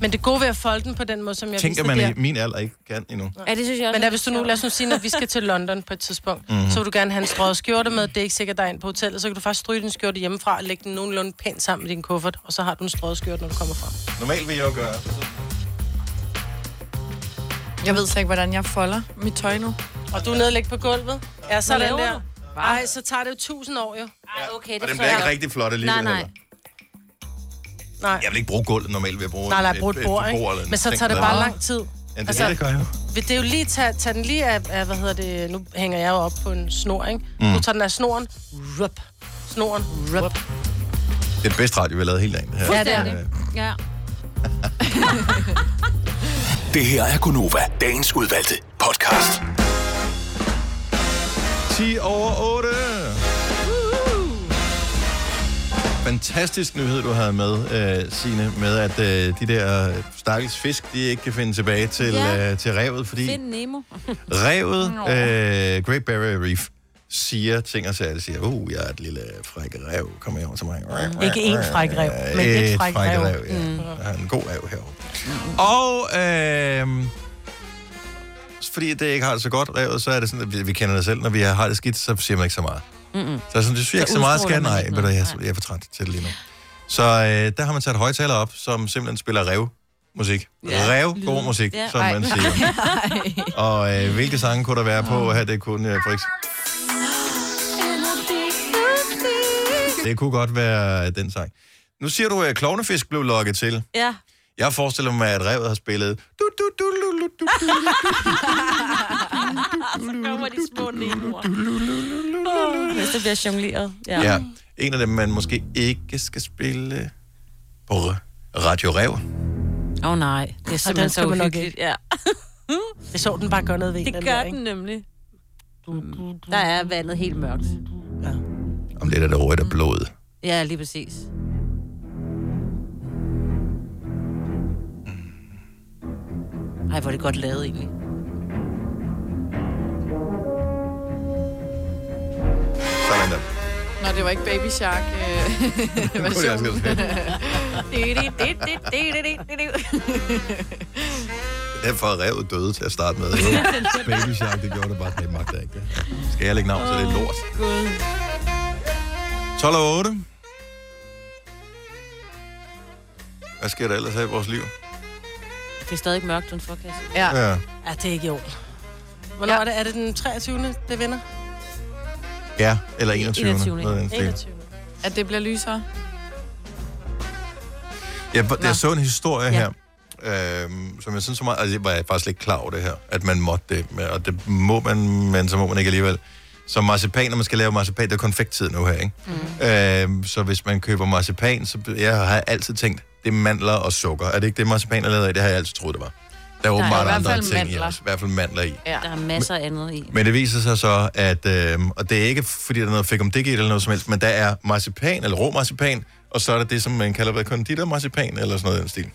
B: Men det gode ved at folde den på den måde, som jeg
A: Jeg Tænk,
B: viste
A: at man
B: der...
A: i min alder ikke kan endnu.
C: Ja, det synes jeg også.
B: Men der, hvis du nu, lad os nu sige, når vi skal til London på et tidspunkt,
A: Mhm.
B: mm-hmm. så vil du gerne have en strøget skjorte med, det er ikke sikkert, der er en på hotellet, så kan du faktisk stryge din skjorte hjemmefra og lægge den nogenlunde pænt sammen med din kuffert, og så har du en strøget skjorte, når du kommer frem.
A: Normalt vil jeg jo gøre.
D: Jeg ved så ikke, hvordan jeg folder mit tøj nu.
B: Og du er nede og lægge på gulvet? Ja, så den
D: laver
B: der. Ej, så tager det jo tusind år jo.
C: Ej, okay,
A: Og den bliver ikke rigtig flot alligevel.
B: Nej, nej.
A: heller.
B: Nej.
A: Jeg vil ikke bruge gulvet normalt ved at bruge
B: Nej, nej,
A: et-
B: brug et bord,
A: eller
B: ikke?
A: en
B: Men så
A: seng
B: tager det
A: eller
B: bare
A: noget.
B: lang tid.
A: Ja, det,
B: Altså-
A: altså, det gør jeg jo.
B: Vil det jo lige tage, tage den lige af, af, hvad hedder det, nu hænger jeg jo op på en snor, ikke? Mm. Nu tager den af snoren. Rup. Snoren. Rup.
A: Det er det bedste radio, vi har lavet hele dagen. Det her.
B: Ja, det er det.
C: Ja.
E: Det her er Gunova, dagens udvalgte
A: *laughs*
E: podcast.
A: 10 over 8. Fantastisk nyhed, du havde med, øh, Signe, med at øh, de der stakkels fisk, de ikke kan finde tilbage til,
C: Ja.
A: øh, til revet, fordi
C: Find Nemo.
A: revet, øh, Great Barrier Reef, siger ting og sager. Det siger, uh, jeg er et lille fræk rev, kom her over til mig.
B: Ikke én fræk rev,
A: Ja,
B: men et
A: et
B: fræk
A: fræk
B: rev.
A: rev, ja.
B: Mm.
A: Der er en god rev herovre. Og øh, fordi det ikke har det så godt, revet, så er det sådan, at vi, vi kender det selv. Når vi har det skidt, så siger man ikke så meget.
N: Mm-mm.
A: Så jeg sådan, det synes jeg
N: Så
A: ikke så meget
N: udstråler
A: skal.
N: man
A: Nej,
N: ikke
A: ved du,
N: noget.
A: jeg, er- jeg er for træt til det lige nu. Så øh, der har man sat højtaler op, som simpelthen spiller rev musik. Ja, rev, god musik, som man *laughs*
F: *laughs*
A: siger. Og øh, hvilke sange kunne der være på her? Det kunne, øh, for eksempel, det kunne godt være den sang. Nu siger du, at øh, klovnefisk blev lukket til.
C: Ja.
A: Jeg forestiller mig, at revet har spillet... Du, du, du, lu, lu, du, du, lu, du,
C: Så kommer de små nemoer. Hvis det bliver jongleret.
A: Ja. ja. En af dem, man måske ikke skal spille på Radio Rev.
C: Åh oh, nej, det er simpelthen så uhyggeligt.
B: *laughs*
C: Ja.
B: Jeg så den bare gøre noget ved en,
C: Det
B: den
C: gør
B: der,
C: den
B: ikke?
C: nemlig. Der er vandet helt mørkt.
A: Om lidt er det rødt og blod.
C: Ja, lige præcis. Ej, hvor er det godt lavet egentlig.
A: Sådan der.
D: Nå, det var ikke Baby Shark. Øh, *laughs* version.
A: jeg også
D: *laughs*
A: Derfor er revet døde til at starte med. Baby Shark, det gjorde det bare, det magter jeg ikke. Skal jeg lægge navn, så det er lort.
C: Gud.
A: 12 og 8. Hvad sker der ellers her i vores liv?
C: Det er stadig mørkt udenfor, kan jeg sige.
B: Ja.
A: Ja.
B: ja, det er ikke i orden. Hvornår ja. er det? Er det den 23. det vinder?
A: Ja, eller 21.
D: 21.,
A: 21. Noget af den stil.
D: At det bliver lysere.
A: Jeg, jeg så en historie her, øhm, som jeg synes så meget... Altså, jeg var faktisk ikke klar over det her, at man måtte det. men- Og det må man, men så må man ikke alligevel. Som marcipan, når man skal lave marcipan, det er konfekttid nu her, ikke? Mm. Øhm, så hvis man køber marcipan, så jeg har altid tænkt, det er mandler og sukker. Er det ikke det, marcipan er lavet af? Det har jeg altid troet, det var. Der er
C: Der er
A: åbenbart
C: i hvert
A: andre
C: fald
A: ting i,
C: mandler.
A: også. i hvert fald mandler i.
D: Ja.
C: Der er masser af andet i.
A: Men det viser sig så, at... Øh, og det er ikke, fordi der er noget fik om det eller noget som helst, men der er marcipan, eller rå marcipan, og så er der det, som man kalder hvad, konditormarcipan, eller sådan noget i den stil.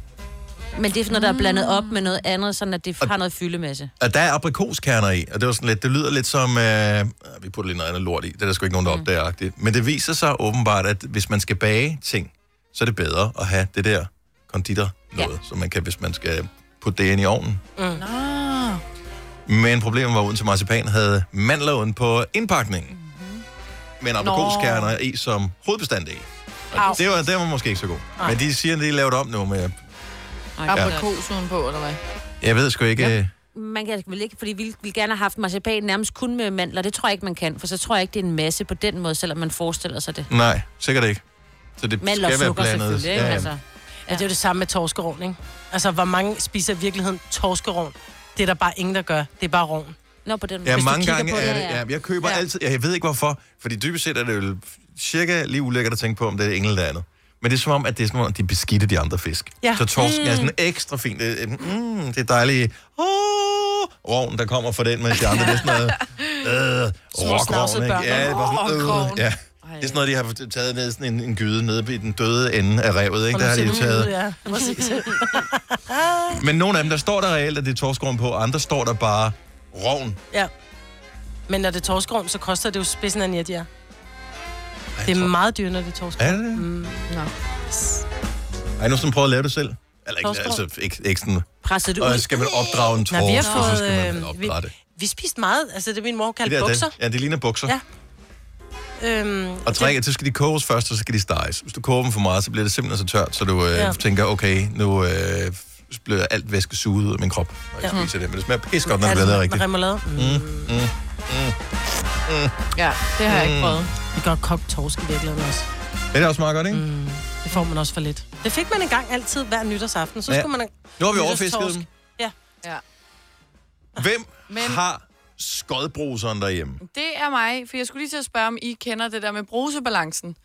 C: Men det er sådan noget, der er blandet op med noget andet, sådan at det har noget fyldemasse.
A: Og der er aprikoskerner i, og det, var sådan lidt, det lyder lidt som... Øh, ah, vi putter lige noget andet lort i, det er der sgu ikke nogen, der opdager. Mm. Men det viser sig åbenbart, at hvis man skal bage ting, så er det bedre at have det der konditor noget, ja. som man kan, hvis man skal putte det ind i ovnen.
D: Mm. Nå.
A: Men problemet var, at uden til marcipan havde mandler uden på indpakningen. Mm-hmm. Men aprikoskerner i som hovedbestanddel.
D: Au.
A: Og Det var, det var måske ikke så god.
D: Nej.
A: Men de siger, at de er lavet om nu. Men jeg,
C: Ej,
A: Ja.
D: Aprikos udenpå, eller hvad?
A: jeg ved sgu ikke... øh, Ja.
C: Man kan vel ikke, fordi vi ville gerne have haft marcipan nærmest kun med mandler. Det tror jeg ikke, man kan, for så tror jeg ikke, det er en masse på den måde, selvom man forestiller sig det.
A: Nej, sikkert ikke. Så det
C: Mandler og
A: skal være
C: sukker
A: blandet.
C: selvfølgelig, ikke? Altså.
B: Ja, det er jo det samme med torskerovn, ikke? Altså, hvor mange spiser i virkeligheden torskerovn? Det er der bare ingen, der gør. Det er bare rovn.
C: Nå,
B: Mm.
C: på den
A: Ja, mange gange er det. Ja, jeg køber ja. altid... Jeg ved ikke hvorfor, fordi dybest set er det jo cirka lige ulækkert at tænke på, om det er engel eller andet. Men det er som om, at det er som om, at de beskidte de andre fisk.
B: Ja.
A: Så torsken mm. er
B: Mm.
A: sådan ekstra fint. Det, er- mm, det er dejligt. Oh, roven, der kommer fra den, mens de andre, det er sådan noget... Øh,
L: Små
A: rockroven,
L: snavsede
A: ikke?
L: børn.
A: Ja, det var sådan, øh,
L: Rockroven.
A: ja. Det er sådan noget, de har taget ned sådan en, en gyde nede i den døde ende af revet, ikke? Der har de jo taget...
B: Ja, præcis.
A: Men nogle af dem, der står der reelt, at det er torskroven på, og andre står der bare roven.
B: ja. Men når det er torskerovn, så koster det jo spidsen af net, ja. Det er meget dyrt, når det er torskerovn.
A: Er det det?
B: Mm, nå.
A: Har I nu sådan prøvet at lave det selv? Eller ikke,
B: Torskov.
A: altså, ikke, ikke sådan...
C: Presset det ud.
A: Og skal man opdrage en torsk,
B: Nej, vi har
A: og så
B: fået...
A: skal man vel
B: Øh, vi,
A: opdrage det.
B: vi spiste meget. Altså, det min mor
A: Det
B: kaldte
A: der,
B: bukser.
A: det- Ja, det ligner bukser.
B: Ja. Øhm,
A: Og træk, så skal de koges først, og så skal de steges. Hvis du koger dem for meget, så bliver det simpelthen så tørt, så du øh,
B: Ja.
A: ja. tænker, okay, nu øh, bliver alt væske suget ud af min krop, når jeg
B: Ja.
A: ja. spiser det. Men det smager pis godt, når
B: er
A: det bliver lavet rigtigt.
B: sådan Med remoulade. Mm.
A: Mm, mm, mm.
D: Ja, det har jeg ikke
A: Mm.
D: prøvet.
B: Vi kan godt kogt torsk i virkeligheden også.
A: Det er også meget godt, ikke? Mm.
B: Det får man også for lidt. Det fik man engang altid hver nytårsaften. Så
A: Ja.
B: ja. skulle man...
A: Nu har vi
B: nytårstorsk.
A: overfisket dem.
B: Ja.
D: ja.
A: Hvem Men... har skodbruseren derhjemme?
D: Det er mig, for jeg skulle lige til at spørge, om I kender det der med brusebalancen.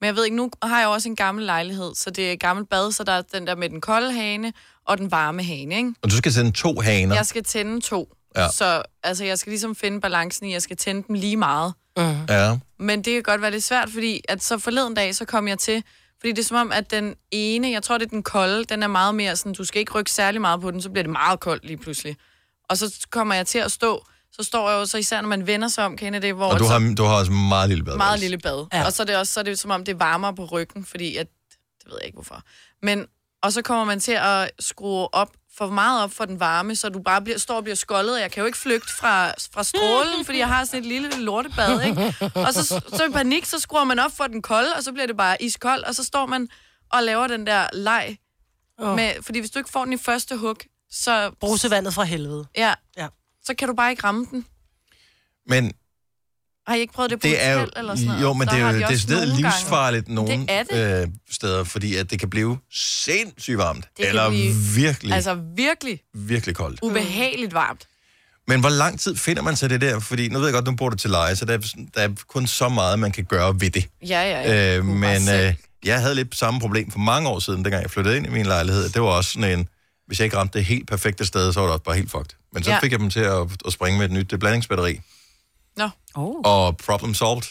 D: Men jeg ved ikke, nu har jeg jo også en gammel lejlighed, så det er et gammelt bad, så der er den der med den kolde hane og den varme hane, ikke?
A: Og du skal sende to haner.
D: Jeg skal tænde to.
A: Ja.
D: Så altså, jeg skal ligesom finde balancen i, jeg skal tænde dem lige meget.
A: Ja.
D: Men det kan godt være lidt svært, fordi at så forleden dag, så kom jeg til, fordi det er som om, at den ene, jeg tror det er den kolde, den er meget mere sådan, du skal ikke rykke særlig meget på den, så bliver det meget koldt lige pludselig. Og så kommer jeg til at stå, så står jeg jo så især, når man vender sig om, kender I det, hvor
A: Og du
D: så-
A: har, du har også meget lille bad.
D: meget lille bad. Ja. Og så er det også så er det som om, det er varmere på ryggen, fordi at, det ved jeg ikke hvorfor. Men, og så kommer man til at skrue op for meget op for den varme, så du bare bliver, står og bliver skoldet, og jeg kan jo ikke flygte fra, fra strålen, fordi jeg har sådan et lille lortebad, ikke? Og så, så i panik, så skruer man op for den kolde, og så bliver det bare iskold, og så står man og laver den der leg.
B: Åh.
D: Oh. Med, fordi hvis du ikke får den i første hug, så...
B: Brusevandet fra helvede.
D: Ja,
B: ja.
D: så kan du bare ikke ramme den.
A: Men
D: Har I ikke prøvet det på
A: Det er jo,
D: hotel eller sådan noget?
A: jo, men
D: Der
A: det er
D: har
A: jo
D: de også
A: decideret
D: nogle gange-
A: livsfarligt nogle
D: Det er det.
A: Øh, steder, fordi at det kan blive sindssygt varmt.
D: Det kan
A: eller
D: blive-
A: virkelig,
D: Altså virkelig
A: virkelig koldt.
D: ubehageligt varmt.
A: Men hvor lang tid finder man sig det der? Fordi nu ved jeg godt, nu bor du til leje, så der er, sådan- der er kun så meget, man kan gøre ved det.
D: Ja, ja, ja.
A: Øh, men øh, jeg havde lidt samme problem for mange år siden, dengang jeg flyttede ind i min lejlighed. Det var også sådan en, hvis jeg ikke ramte det helt perfekte sted, så var det også bare helt fucked. Men så
D: Ja.
A: ja. fik jeg dem til at, at springe med et nyt øh, blandingsbatteri.
D: Nå. Oh.
A: Og problem solved,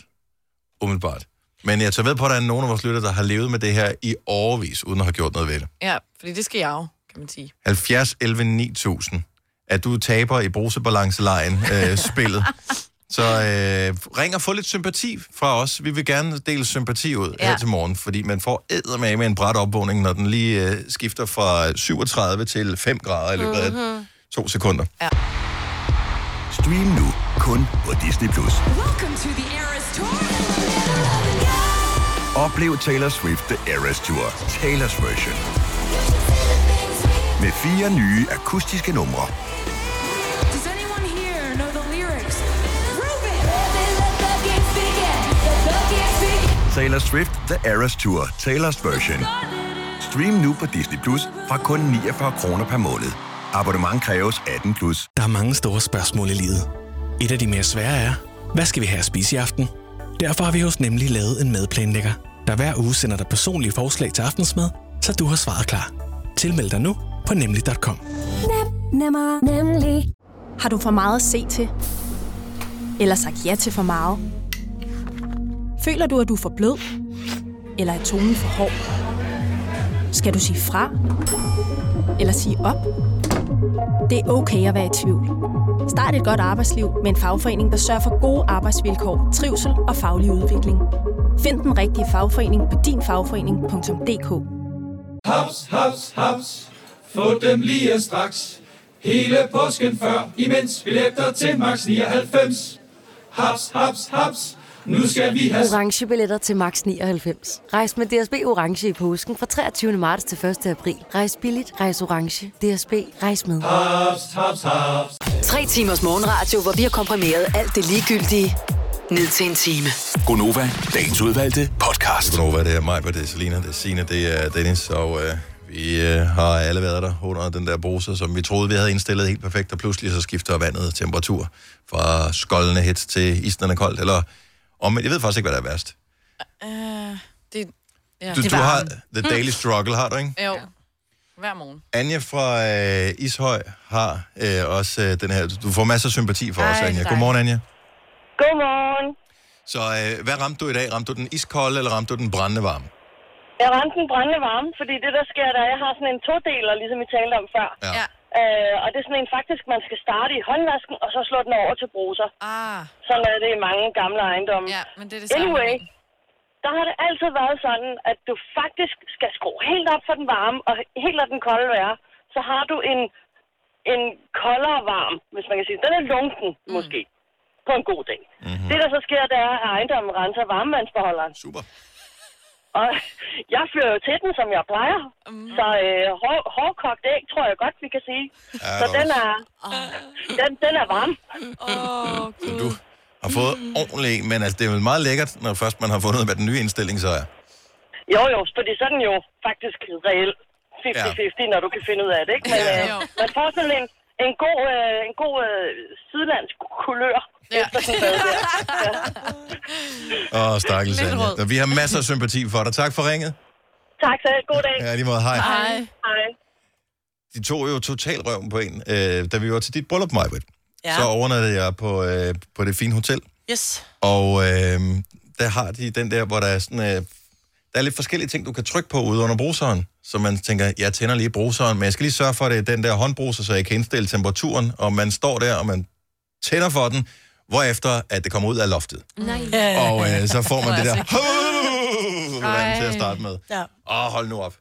A: umiddelbart. Men jeg tager ved på, at der er nogen af vores lytter, der har levet med det her i årevis, uden at have gjort noget ved det.
D: Ja, fordi det skal jeg jo, kan man sige.
A: 70 11 9000. At du taber i brusebalancelejen, øh, spillet. Så øh, ring og få lidt sympati fra os. Vi vil gerne dele sympati ud ja. her til morgen, fordi man får eddermame med en bræt opvågning, når den lige øh, skifter fra 37 til 5 grader i løbet af
J: Mhm.
A: to sekunder.
D: Ja.
J: Stream nu kun på Disney+. Plus.
O: Welcome to the Eras Tour.
J: Oplev Taylor Swift The Eras Tour, Taylor's version. Med fire nye akustiske numre.
O: Does anyone here know the lyrics?
J: Taylor Swift The Eras Tour, Taylor's version. Stream nu på Disney Plus fra kun 49 kroner per måned. Abonnement kræves 18 plus.
N: Der er mange store spørgsmål i livet. Et af de mere svære er, hvad skal vi have at spise i aften? Derfor har vi hos Nemlig lavet en madplanlægger, der hver uge sender dig personlige forslag til aftensmad, så du har svaret klar. Tilmeld dig nu på nemlig.com.
P: Nemmer, nemlig. Har du for meget at se til? Eller sagt ja til for meget? Føler du, at du er for blød? Eller er tonen for hård? Skal du sige fra? Eller sige op? Det er okay at være i tvivl. Start et godt arbejdsliv med en fagforening, der sørger for gode arbejdsvilkår, trivsel og faglig udvikling. Find den rigtige fagforening på dinfagforening.dk.
Q: *laughs* Haps, haps, haps. Få dem lige straks. Hele påsken før, imens billetter til max 99. Haps, haps, haps. Nu skal vi have...
R: orange billetter til max 99. Rejs med DSB orange i påsken fra 23. marts til 1. april. Rejs billigt, rejs orange. DSB rejs med.
Q: Haps, haps, haps.
F: Tre timers morgenradio, hvor vi har komprimeret alt det ligegyldige ned til en time.
J: Gonova, dagens udvalgte podcast.
A: Gonova, det er mig, det er Selina, det er Sina, det er Dennis, og øh, vi øh, har alle været der under den der bruse, som vi troede, vi havde indstillet helt perfekt, og pludselig så skifter vandet temperatur fra skoldende hits til isen er koldt, eller om, jeg ved faktisk ikke, hvad der er værst.
S: Øh,
D: Uh, det, ja.
A: Du,
D: det Mm.
A: du
D: var-
A: har The Daily Struggle, har du ikke?
D: Jo, hver morgen.
A: Anja fra øh, Ishøj har øh, også øh, den her. Du får masser af sympati for
D: Ej,
A: os,
D: det er
A: Anja.
D: dejligt.
A: Godmorgen, Anja.
K: Godmorgen.
A: Så øh, hvad ramte du i dag? Ramte du den iskolde, eller ramte du den brændende varme?
K: Jeg ramte en brændende varme, fordi det, der sker, der er, jeg har sådan en todeler, ligesom I talte om før.
A: Ja.
K: Øh, og det er sådan en faktisk, man skal starte i håndvasken, og så slå den over til bruser.
D: Ah.
K: Sådan er det i mange gamle ejendomme.
D: Ja, men det er det samme.
K: Anyway, der har det altid været sådan, at du faktisk skal skrue helt op for den varme, og helt lade den kolde være. Så har du en, en koldere varm, hvis man kan sige. Den er lunken, mm. måske, på en god dag. Mm-hmm. Det, der så sker, det er, at ejendommen renser varmevandsbeholderen.
A: Mhm. Super.
K: Og *laughs* jeg fører jo til den, som jeg plejer.
D: Mhm.
K: Mm. Så øh, hår, hårdkogt æg, tror jeg godt, vi kan sige.
A: Ja,
K: så
A: det er
K: den er, den, den er varm.
A: Har fået ordentligt, men altså, det er jo meget lækkert, når først man har fundet, hvad den nye indstilling så er.
K: Jo, jo, fordi så er den jo faktisk reelt 50-50, når du kan finde ud af det, ikke? Men
A: Ja.
K: øh, man får sådan en, en god, øh, en god øh, sydlandsk kulør. Ja. *laughs* Efter sådan noget der. Ja.
A: Åh, stakkels
K: Lidt
A: Anja.
K: rød.
A: Nå, Vi har masser af sympati for dig. Tak for ringet.
K: Tak selv. God dag.
A: Ja, lige måde. Hej.
K: Hej. Hej.
A: De tog jo total røven på en, øh, da vi var til dit bryllup, Majbrit.
S: Ja.
A: Ja. Så overnattede jeg på, øh, på det fine hotel.
S: Yes.
A: Og øh, der har de den der, hvor der er sådan... Øh, der er lidt forskellige ting, du kan trykke på ude under bruseren. Så man tænker, jeg tænder lige bruseren, men jeg skal lige sørge for, at det er den der håndbruser, så jeg kan indstille temperaturen. Og man står der, og man tænder for den, hvorefter at det kommer ud af loftet.
O: Nej.
A: Og øh, så får man det der...
D: Ej.
A: til at starte med.
S: Ja.
A: Åh, hold nu op.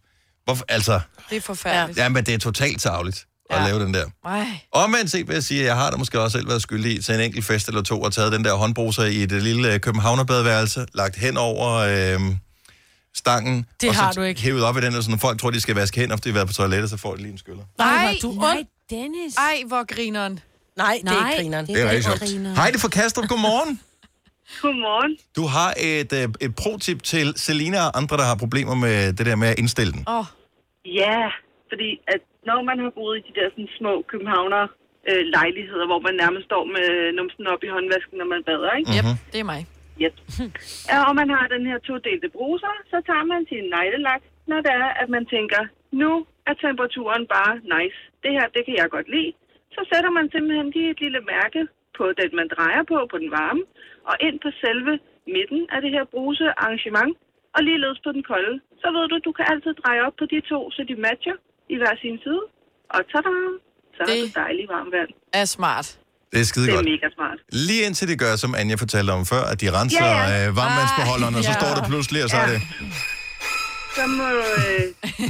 A: Hvorfor, altså,
D: Det er forfærdeligt.
A: ja, men det er totalt tavligt at
D: Ja.
A: lave den der.
D: Nej.
A: Omvendt set vil jeg sige, at jeg har da måske også selv været skyldig i til en enkelt fest eller to, og taget den der håndbruser i det lille øh, københavnerbadeværelse, lagt hen over øh, stangen,
S: Det
A: og
S: har
A: så
S: du ikke.
A: hævet op i den, og sådan, folk tror, de skal vaske hænder, fordi de har været på toilettet, så får de lige en skyller.
D: Nej, du nej, Dennis. Ej, hvor grineren.
S: Nej, det er ikke grineren.
A: Det er rigtig sjovt. Hej, det er fra Kastrup. Godmorgen.
T: Godmorgen.
A: Du har et, øh, et pro-tip til Selina og andre, der har problemer med det der med at indstille den.
T: Åh. Oh. Ja, fordi at når man har boet i de der sådan, små københavner øh, lejligheder, hvor man nærmest står med numsen op i håndvasken, når man bader, ikke?
D: Yep, det er mig.
T: Yep. Ja, og man har den her todelte bruser, så tager man sin neglelak, når det er, at man tænker, nu er temperaturen bare nice. Det her, det kan jeg godt lide. Så sætter man simpelthen lige et lille mærke på den, man drejer på, på den varme, og ind på selve midten af det her brusearrangement, og ligeledes på den kolde. Så ved du, du kan altid dreje op på de to, så de matcher i hver sin side. Og tada! Så det... har du dejlig varmt vand.
D: Er smart.
A: Det er skide
T: Det
A: godt.
T: er mega smart.
A: Lige indtil det gør, som Anja fortalte om før, at de renser
T: Ja, ja.
A: yeah. øh, varmvandsbeholderen, og så
T: Ej, ja.
A: står der pludselig, og så er
T: Ja.
A: det...
T: Så må, du, øh,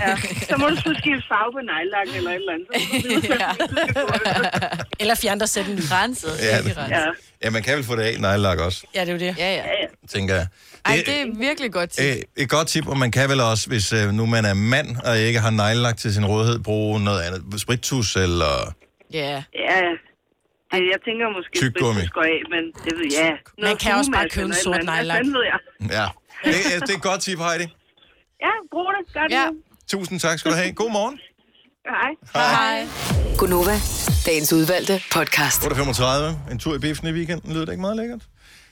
T: ja, så må du skulle skifte farve på nejlakken eller et eller andet.
C: *laughs*
B: Eller fjerne dig selv en
D: Renset,
A: Ja, det, ja, man kan vel få det af nejlak også,
D: Ja, det er jo det. Ja, ja.
A: tænker jeg.
D: Ej, det er virkelig godt tip.
A: Øh, et godt tip, og man kan vel også, hvis øh, nu man er mand, og ikke har neglelak til sin rådighed, bruge noget andet. Sprittus eller...
D: Ja.
T: Ja, ja. Jeg tænker måske, at
A: Tyggegummi.
T: det skal af, men det ved jeg.
B: Man kan også bare købe en sort nejlak.
T: Det ved jeg.
A: Ja, det, er- det er et godt tip, Heidi.
T: Ja, brug det. Gør det. Ja.
A: Tusind tak skal du have. God morgen.
T: Hej.
U: Hej. Gunova, dagens udvalgte podcast.
A: 8.35. En tur i biffen i weekenden. Lyder det ikke meget lækkert?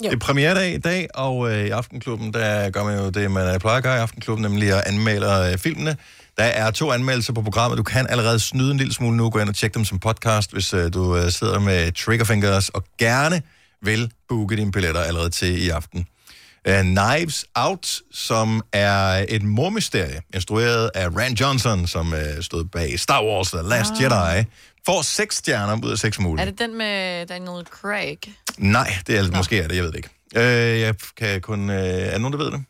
A: Jo. Det er premieredag i dag, og øh, i Aftenklubben, der gør man jo det, man øh, plejer at gøre i Aftenklubben, nemlig at anmelde øh, filmene. Der er to anmeldelser på programmet. Du kan allerede snyde en lille smule nu. Gå ind og tjek dem som podcast, hvis øh, du øh, sidder med triggerfingers, og gerne vil booke dine billetter allerede til i aften. Uh, Knives Out, som er et mormysterie, instrueret af Rand Johnson, som uh, stod bag Star Wars The Last
D: Ah.
A: ah. Jedi, får seks stjerner ud af seks mulige.
D: Er det den med Daniel Craig?
A: Nej, det er, måske er det, jeg ved det ikke. Øh, jeg kan kun... Øh, er der nogen, der ved det?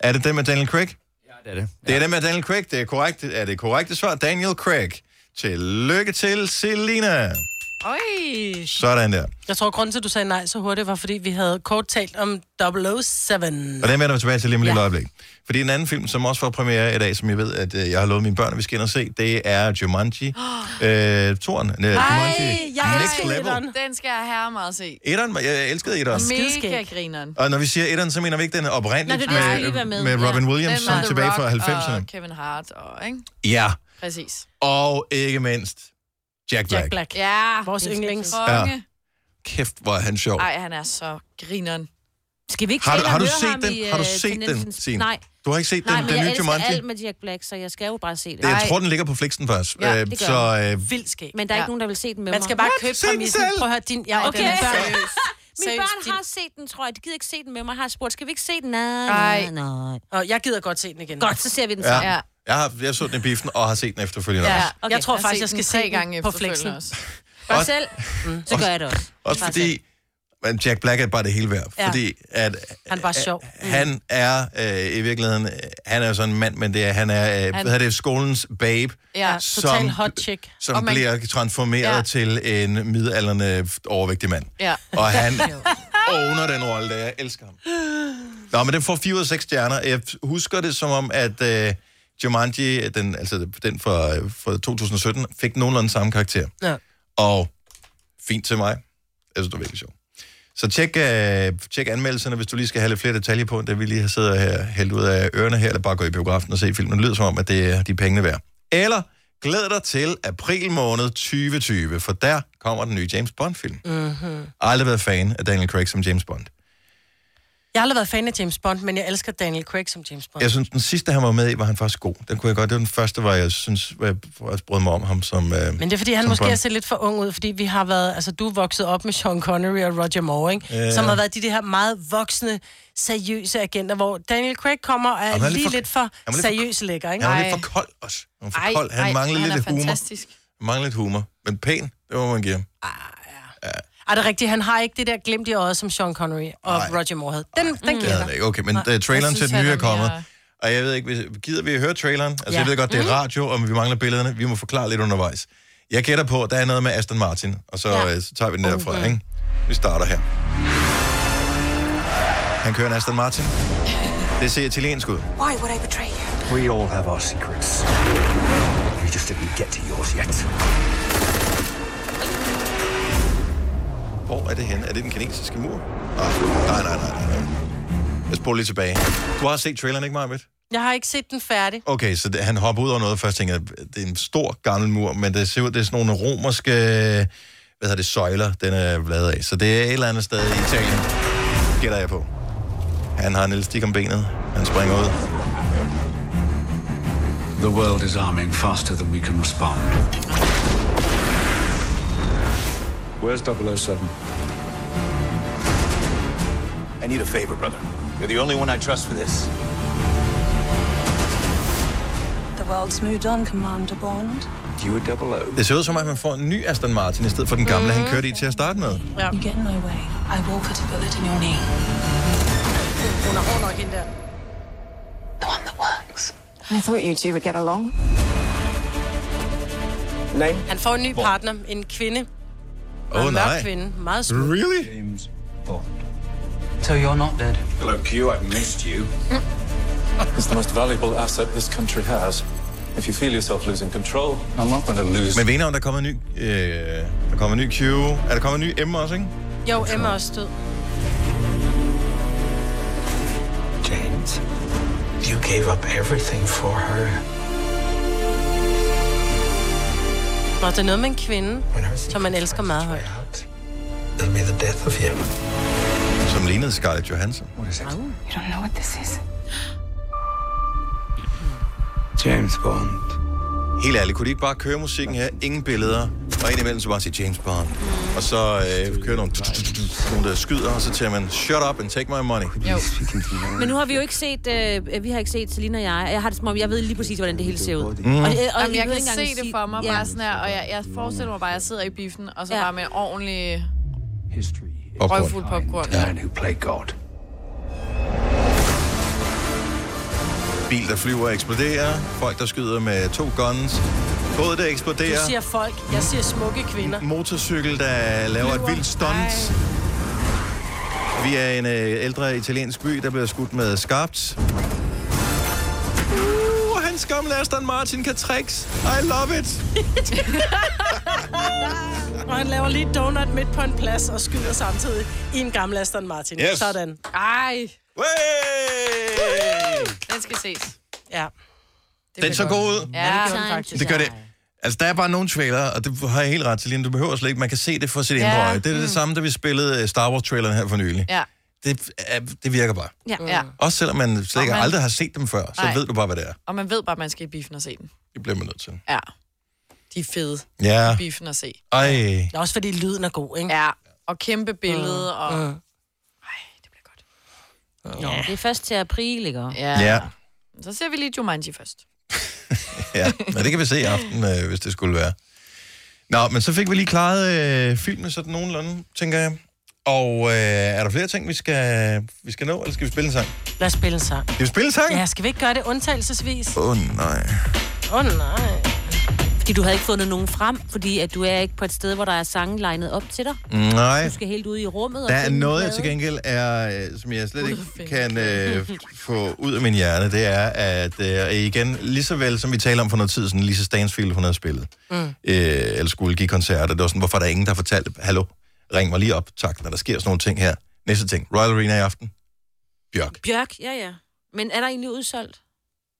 A: Er det den med Daniel Craig? Ja, det er det. Det er den med Daniel Craig, det er korrekt. Er det korrekte svar? Daniel Craig. Tillykke til Selina.
B: Oj.
A: Sådan der.
B: Jeg tror, grunden til, at du sagde nej så hurtigt, var, fordi vi havde kort talt om 007.
A: Og den vender vi tilbage til lige om ja. lidt øjeblik. Fordi en anden film, som også får premiere i dag, som jeg ved, at øh, jeg har lovet mine børn, at vi skal ind og se, det er
D: *gasps*
A: Jumanji. øh, Toren. Nej, Jumanji. Next Level.
D: Den skal jeg herre meget se.
A: Etteren, var- jeg elskede etteren.
D: Mega grineren.
A: Og når vi siger etteren, så mener vi ikke den
D: Nej,
A: oprindeligt
D: det er det, jeg
A: med,
D: lige var
A: med,
D: med.
A: med Robin
D: Ja.
A: Williams,
D: Den
A: som
D: med The
A: tilbage fra
D: Rock
A: 90'erne.
D: Og Kevin Hart og, ikke?
A: Ja,
D: Præcis.
A: og ikke mindst Jack Black. Jack Black.
D: Ja.
B: Vores yndlings.
A: Ja. Kæft, hvor er han sjov.
D: Ej, han er så grineren.
C: Skal vi ikke
A: Har,
C: tale
A: du-
C: og
A: har du
C: høre ham
A: set den?
C: i,
A: Har du
C: øh,
A: set den,
C: Fornemmelsens-
A: Signe?
C: Nej.
A: Du har ikke set
C: Nej,
A: den,
C: men
A: den
C: jeg
A: nye
C: elsker
A: Jumanji?
C: alt med Jack Black, så jeg skal jo bare se det.
A: Det, jeg tror, den ligger på Flixen først.
C: Ja,
A: Øh,
C: det gør
A: så
C: den.
A: øh,
B: Vildt skæg.
C: Men der er ikke nogen, der vil se den med
B: Man
C: mig.
B: skal bare
C: What?
B: købe
C: Se den
B: præmissen.
C: selv.
B: Prøv at høre, din... Ja,
C: Ej,
B: okay.
C: den er
B: Mine børn,
C: *laughs* seriøs. Mine børn
B: din-
C: har set den, tror jeg. De gider ikke se den med mig. Har spurgt, skal vi ikke se den? Nej,
B: Nej.
C: nej, nej.
B: Og jeg gider godt se den igen.
C: Godt, så ser vi den så.
A: ja. Jeg, har, jeg så den i biffen og har set den efterfølgende
B: Ja,
A: også.
B: okay. Jeg tror
D: Jeg har
B: faktisk,
D: set
B: jeg skal
D: den tre
B: se
D: gange
B: den på
D: efterfølgende
B: flexen. Mm.
D: også.
C: Bare selv. Så gør jeg det også.
A: Også
C: Bare
A: fordi men Jack Black er bare det hele værd.
C: Ja.
A: Fordi at,
B: Han er bare sjov.
A: Mm. Han er øh, i virkeligheden, øh, han er jo sådan en mand, men det er, han er, øh,
B: Han-
A: han... hvad hedder det, skolens babe,
B: Ja, total hot chick.
A: som man... bliver transformeret
B: Ja.
A: ja. til en midalderne overvægtig mand.
B: Ja.
A: Og han owner den rolle, der jeg elsker ham. Nå, men den får 4 ud af 6 stjerner. Jeg husker det som om, at øh, Jumanji, den, altså den fra, øh, fra 2017, fik nogenlunde samme karakter.
B: Ja.
A: Og fint til mig. Jeg synes, det var virkelig sjovt. Så tjek, øh, tjek anmeldelserne, hvis du lige skal have lidt flere detaljer på, end det vi lige har siddet her, hældt ud af ørerne her, eller bare gå i biografen og se filmen. Det lyder som om, at det er de er pengene værd. Eller glæd dig til april måned 2020, for der kommer den nye James Bond-film.
B: *laughs* Mm-hmm.
A: Aldrig været fan af Daniel Craig som James Bond.
B: Jeg har aldrig været fan af James Bond, men jeg elsker Daniel Craig som James Bond.
A: Jeg synes, den sidste, han var med i, var han faktisk god. Den kunne jeg godt. Det var den første, hvor jeg synes, hvor jeg også brød mig om ham som øh,
B: Men det er, fordi han
A: som
B: måske
A: Bond.
B: har set lidt for ung ud, fordi vi har været, altså du er vokset op med Sean Connery og Roger Moore, ikke?
A: Ja.
B: som har været de, de her meget voksne, seriøse agenter, hvor Daniel Craig kommer og er,
A: han er
B: lige
A: lidt
B: lidt for,
A: for-
B: lidt for
A: er lidt for-
B: seriøs lækker, ikke?
A: Han var lidt for kold også. Han var for
B: Ej,
A: kold. Han
B: ej,
A: manglede
B: han er
A: lidt humor.
B: fantastisk.
A: Han
B: Mm.
A: manglede lidt humor. Men pæn, det må man give ham.
B: Ej, det er rigtigt, han har ikke det der glimt i øjet, som Sean Connery og Ej. Roger Moore havde. Den, den
A: Det havde
B: giver
A: han
B: dig.
A: ikke. Okay, men
B: Nej.
A: uh, traileren
B: Jeg
A: til
B: synes,
A: den nye
B: han
A: er
B: er
A: kommet.
B: mere-
A: Og jeg ved ikke, hvis- gider vi høre traileren? Altså,
B: Ja.
A: jeg ved godt, det er
B: Mhm.
A: radio, og vi mangler billederne. Vi må forklare lidt undervejs. Jeg gætter på, at der er noget med Aston Martin, og så, ja. så tager vi den derfra,
E: Okay.
A: ikke? Vi starter her. Han kører en Aston Martin. Det ser italiensk ud.
V: Why would I betray you?
E: We all have our secrets. You just didn't get to yours yet.
A: Hvor er det henne? Er det den kinesiske mur? Ah, nej, nej, nej, nej. nej. Jeg spoler lige tilbage. Du har set traileren, ikke, Marvitt?
B: Jeg har ikke set den færdig.
A: Okay, så det, han hopper ud over noget, først tænker jeg, det er en stor gammel mur, men det ser ud, det er sådan nogle romerske, hvad hedder det, søjler, den er lavet af. Så det er et eller andet sted i Italien, gætter jeg på. Han har en lille stik om benet, han springer ud.
V: The world is arming faster than we can respond. Where's 007?
W: I need a favor, brother. You're the only one I trust for this.
X: The world's moved on, Commander Bond.
A: You double Det ser ud som om, man får en ny Aston Martin, i stedet for den gamle, han kørte i til at starte med.
X: Yeah. You get in my way, I will put a bullet in your knee.
B: Hun er hård nok, hende der.
X: I thought you two would get along.
A: Nej.
B: Han får en ny partner, en kvinde.
A: Åh,
B: en mørk
A: nej.
B: kvinde. Meget smuk.
A: Really?
V: So you're not dead.
Y: Hello, Q. I've missed you. Mm. it's the most valuable asset this country has. If you feel yourself losing control, I'm not going to lose.
A: Men ved I, om der kommer en ny, øh, der kommer en ny Q, er der kommet en ny M også, ikke?
B: Jo, Emma er også død.
V: James, you gave up everything for her.
B: Nå, det er noget med en kvinde, som man elsker meget højt.
V: It'll be the death of him.
A: Som lignede Scarlett Johansson.
X: Oh, You don't know what this is.
A: James Bond. Helt ærligt, kunne de ikke bare køre musikken her? Ingen billeder. Og indimellem så bare sige James Bond. Og så øh, kører nogle, nogle, der skyder, og så tager man, shut up and take my money.
C: Jo. Men nu har vi jo ikke set, øh, vi har ikke set Selina og jeg. Jeg har det som om, jeg ved lige præcis, hvordan det hele ser ud. øh,
A: Mm.
C: det-
D: Jamen, jeg
C: I behøver
D: kan
C: ikke engang
D: se det
C: sige-
D: for mig,
C: Ja.
D: bare sådan her, og jeg, jeg forestiller mig bare, at jeg sidder i biffen, og så bare med en ordentlig
V: Popcorn.
D: røgfuld popcorn.
V: Man who played God.
A: Bil, der flyver og eksploderer. Folk, der skyder med to guns. Både der eksploderer.
B: Du siger folk, jeg siger smukke kvinder.
A: Motorcykel, der laver et vildt stunt. Vi er en øh, ældre italiensk by, der bliver skudt med skarpt. Uh, hans gamle Aston Martin kan tricks. I love
D: *laughs*
A: it.
B: og han laver lige donut midt på en plads og skyder samtidig i en gammel Aston Martin.
D: Yes.
B: Sådan.
D: Ej.
A: Hey!
D: Den skal ses.
B: Ja.
A: Den så god ud.
D: Ja, det gør den faktisk.
A: Det gør det. Altså, der er bare nogle trailere, og det har jeg helt ret til, Line. Du behøver slet ikke. Man kan se det for sit
D: Ja.
A: indre øje. Det er
D: Mm.
A: det samme, da vi spillede øh, Star Wars-traileren her for nylig.
D: Ja.
A: Det, er, det virker bare.
D: Ja. ja.
A: Også selvom man slet ikke
D: Og man-
A: aldrig har set dem før, så
D: Nej.
A: ved du bare, hvad det er.
D: Og man ved bare, at man skal i biffen og se den.
A: Det bliver man nødt til.
D: Ja. De er fede.
A: Ja.
D: I biffen at se.
A: Ej.
B: Ja, også fordi lyden er god, ikke?
D: Ja. Og kæmpe billede, og...
C: Nå, det er først til april, ikke?
D: Ja.
A: Ja.
D: Så ser vi lige Jumanji først.
A: Ja, men det kan vi se i aften, øh, hvis det skulle være. Nå, men så fik vi lige klaret øh, filmen sådan nogenlunde, tænker jeg. Og øh, er der flere ting, vi skal, vi skal nå, eller skal vi spille en sang?
B: Lad os spille en sang.
A: Skal vi spille en sang?
B: Ja, skal vi ikke gøre det undtagelsesvis?
A: Åh oh, nej.
B: Åh oh, nej.
C: Fordi du havde ikke fundet nogen frem, fordi at du er ikke på et sted, hvor der er sange legnet op til dig.
A: Nej.
C: Du skal helt ud i rummet. og
A: Der er
C: finde
A: noget, jeg
C: pladen.
A: til gengæld er, øh, som jeg slet ikke kan øh, få ud af min hjerne, det er, at øh, igen, lige så vel som vi taler om for noget tid siden, Lisa Stansfield, hun havde spillet,
L: Mm.
A: øh, eller skulle give koncerter, det var sådan, hvorfor er der ingen, der har fortalt, hallo, ring mig lige op, tak, når der sker sådan nogle ting her. Næste ting, Royal Arena i aften. Bjørk.
C: Bjørk, ja, ja. Men er der egentlig udsolgt?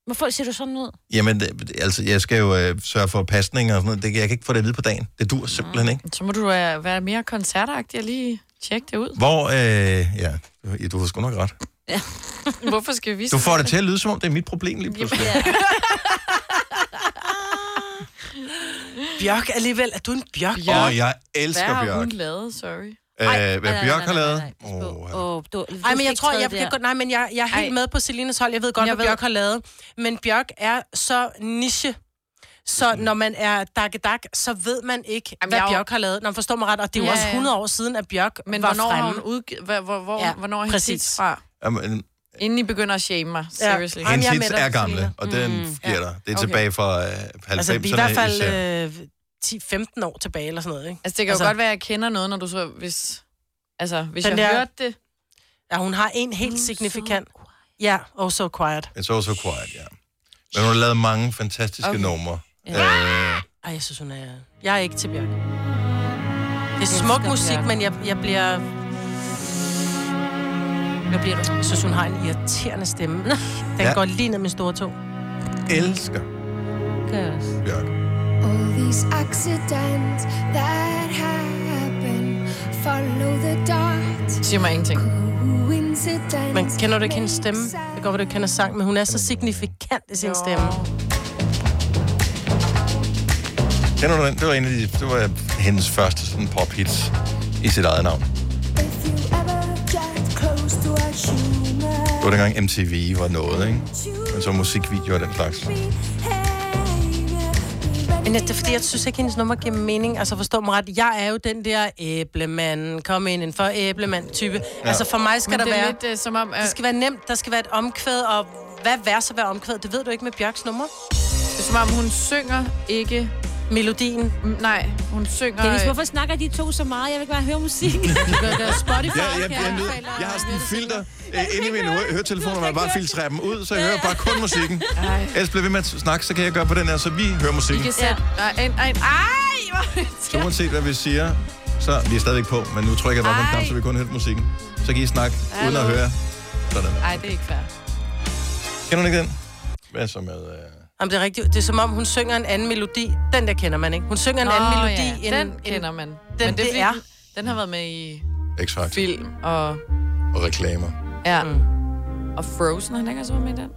C: Hvorfor ser du sådan ud?
A: Jamen, det- altså, jeg skal jo øh, sørge for pasning og sådan noget. Det, kan- jeg kan ikke få det at vide på dagen. Det dur simpelthen ikke.
D: Så må du øh, være mere koncertagtig og lige tjekke det ud. *laughs*
A: Hvor, øh, ja, du- du har sgu nok ret.
D: Hvorfor skal vi...
A: Du får det til at lyde, som om det er mit problem lige pludselig.
B: Bjørk alligevel, er du en Bjørk?
A: Bjørk. Åh, jeg elsker
D: Hvad har
A: Bjørk.
D: hun lavet? Sorry.
A: Øh,
B: Eh,
A: hvad
B: nej, nej,
A: Bjørk
B: nej,
A: har
B: nej,
A: lavet?
C: Oh, du,
B: Ej, men jeg tror, jeg kan godt... Nej, men jeg, jeg er helt
C: Ej.
B: med på Selinas hold. Jeg ved godt,
C: Jeg
B: hvad
C: ved-
B: Bjørk har lavet. Men Bjørk er så niche. Så
A: Mhm.
B: når man er dakkedak, så ved man ikke, Jamen, hvad
D: jeg er jo-
B: Bjørk har lavet. Når man forstår mig ret, og det er jo
D: Ja,
B: også
D: ja.
B: 100 år *laughs* siden, at Bjørk
D: Men
B: var
D: hvornår har
B: fremme.
D: hun udgivet... Hvor, hvor, hvor, ja, hvornår er hendes
B: præcis.
D: hits fra?
A: Jamen,
D: Inden I begynder at shame mig, seriously. Ja.
A: hendes hits er gamle, og
B: Mm.
A: den bliver der. Det er tilbage fra øh, 90'erne.
B: Altså, vi er i hvert fald
A: især.
B: øh, 10-15 år tilbage, eller sådan noget, ikke?
D: Altså, det kan altså,
B: altså,
D: jo godt være, at jeg kender noget, når du så... Hvis, altså, hvis
B: Den
D: jeg
B: der-
D: hørte det...
B: Ja, hun har en helt signifikant... Ja, oh so quiet.
A: It's also quiet, ja. Men hun har lavet mange fantastiske
B: Okay.
A: numre.
B: Ja.
A: Øh,
B: Ej, jeg synes, hun er... Jeg er ikke til Bjørk. Det er smuk musik, men jeg, jeg bliver... Jeg bliver... Jeg synes, hun har en irriterende stemme. *laughs* Den
A: Ja.
B: ja. går lige ned med store tog.
A: Øh, Elsker Bjørk.
F: All these accidents that happen follow the dot.
D: Siger mig ingenting.
F: Coincidence
B: Men kender du ikke hendes stemme? Det kan godt være, du ikke kender sang, men hun er så signifikant i sin stemme.
A: Kender du den? Det var, en af de, det var hendes første sådan pop-hits i sit eget navn.
F: get close to a human.
A: Det var dengang MTV var noget, ikke? Men så musikvideoer og den slags.
B: Men det er fordi, jeg synes ikke, hendes nummer giver mening. Altså forstå mig ret, jeg er jo den der æblemand, kom ind for æblemand-type.
D: Ja.
B: Ja. Altså for mig skal
D: Men
B: der
D: det er
B: være...
D: lidt, øh, som om, øh,
B: Det skal være nemt, der skal være et omkvæd, og hvad vers at være omkvæd, det ved du ikke med Bjørks nummer.
D: Det er som om, hun synger ikke...
B: Melodien?
C: Mm,
D: Nej, hun synger...
C: Dennis, hvorfor snakker de to så meget? Jeg vil bare høre *laughs* musik. du kan gøre Spotify,
A: Ja, jeg, jeg, jeg, jeg, jeg har sådan en filter øh, inde i mine hø- høretelefoner, hvor jeg bare filtrerer dem ud, så jeg hører bare kun musikken. Ellers bliver vi med at snakke, så kan jeg gøre på den her, så vi hører
D: I
A: musikken.
D: kan sætte... Ja. Ej, ej, ej, hvor er det
A: Så uanset hvad vi siger, så vi er stadigvæk på, men nu trykker jeg bare på en knap, så vi kun hører musikken. Så kan I snakke, uden at
D: Hallo.
A: høre. Sådan.
D: Ej, det er ikke fair.
A: Kender du ikke den? Hvad så med... Øh...
B: Jamen, det er rigtigt. Det er som om, hun synger en anden melodi. Den der kender man ikke. Hun synger *laughs* en anden
D: Nå,
B: melodi.
D: ja, den kender man. Den,
B: Den,
D: Men det, er, fordi,
B: er.
D: den- Den har været med i...
A: X-Factor.
D: Film og...
A: Og reklamer.
D: Ja. Mm. Og Frozen, har han ikke også været med i den?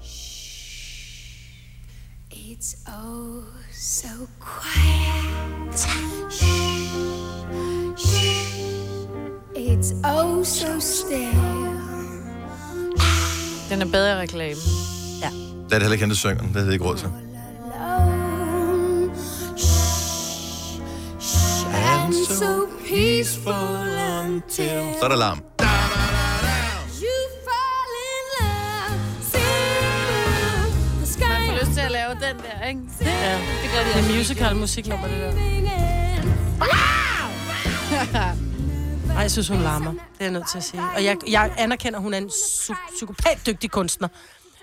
F: It's oh so quiet. Shh. Shh. It's oh so still.
D: Den er bedre i reklame.
B: Ja.
A: Det er det heller ikke hende, der synger. Det havde jeg ikke råd til.
F: And so peaceful until
A: Så er der larm.
F: you fall in love. See the sky.
D: Man får lyst til at lave den der, ikke?
B: Ja, det gør de. Det er musical musiknummer, det *laughs* der. Nej, jeg synes, hun larmer. Det er jeg nødt til at sige. Og jeg, jeg anerkender, at hun er en su- psykopat dygtig kunstner.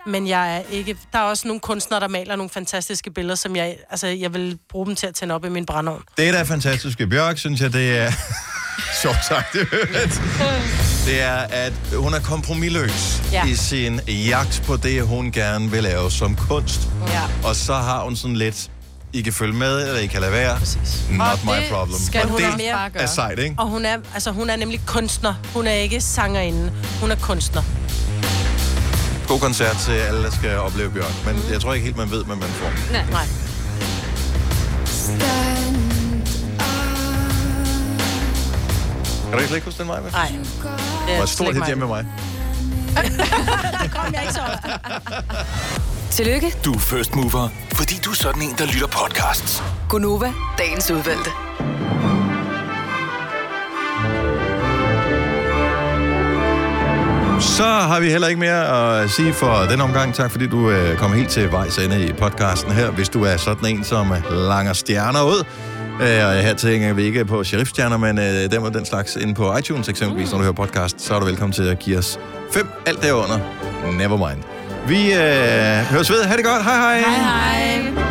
B: Men jeg er ikke... Der er også nogle kunstnere, der maler nogle fantastiske billeder, som jeg... Altså, jeg vil bruge dem til at tænde op i min brændeovn.
A: Det, der er fantastisk ved Bjørk, synes jeg, det er... *laughs* Sjovt sagt, i øvrigt. det er, at hun er kompromilløs
B: Ja.
A: ja. i sin jagt på det, hun gerne vil lave som kunst.
D: Ja.
A: Og så har hun sådan lidt, I kan følge med, eller I kan lade være. Præcis. Not
B: Og
A: my
B: det
A: problem.
B: skal
A: og
B: hun
A: det
B: også bare gøre.
A: er sejt, ikke?
B: Og hun er, altså, hun er nemlig kunstner. Hun er ikke sangerinde. Hun er kunstner.
A: God koncert til alle, der skal opleve Bjørk. Men jeg tror ikke helt, man ved, hvad man får.
B: Nej. Nej.
A: Kan du ikke slet ikke huske den, Maja?
B: Nej.
A: Det var et stort hit hjemme med mig.
B: *laughs* Der kom jeg ikke så ofte.
U: Tillykke,
E: Du er first mover, fordi du er sådan en, der lytter podcasts.
U: Gunova, dagens udvalgte.
A: Så har vi heller ikke mere at sige for den omgang. Tak fordi du øh, kom helt til vejs ende i podcasten her. Hvis du er sådan en, som øh, langer stjerner ud, øh, og her tænker vi ikke på sheriffstjerner, men øh, dem og den slags inde på iTunes eksempelvis, når du hører podcast, så er du velkommen til at give os fem alt derunder. Nevermind. Vi øh, høres ved. Ha' det godt. Hej hej. Hej
D: hej.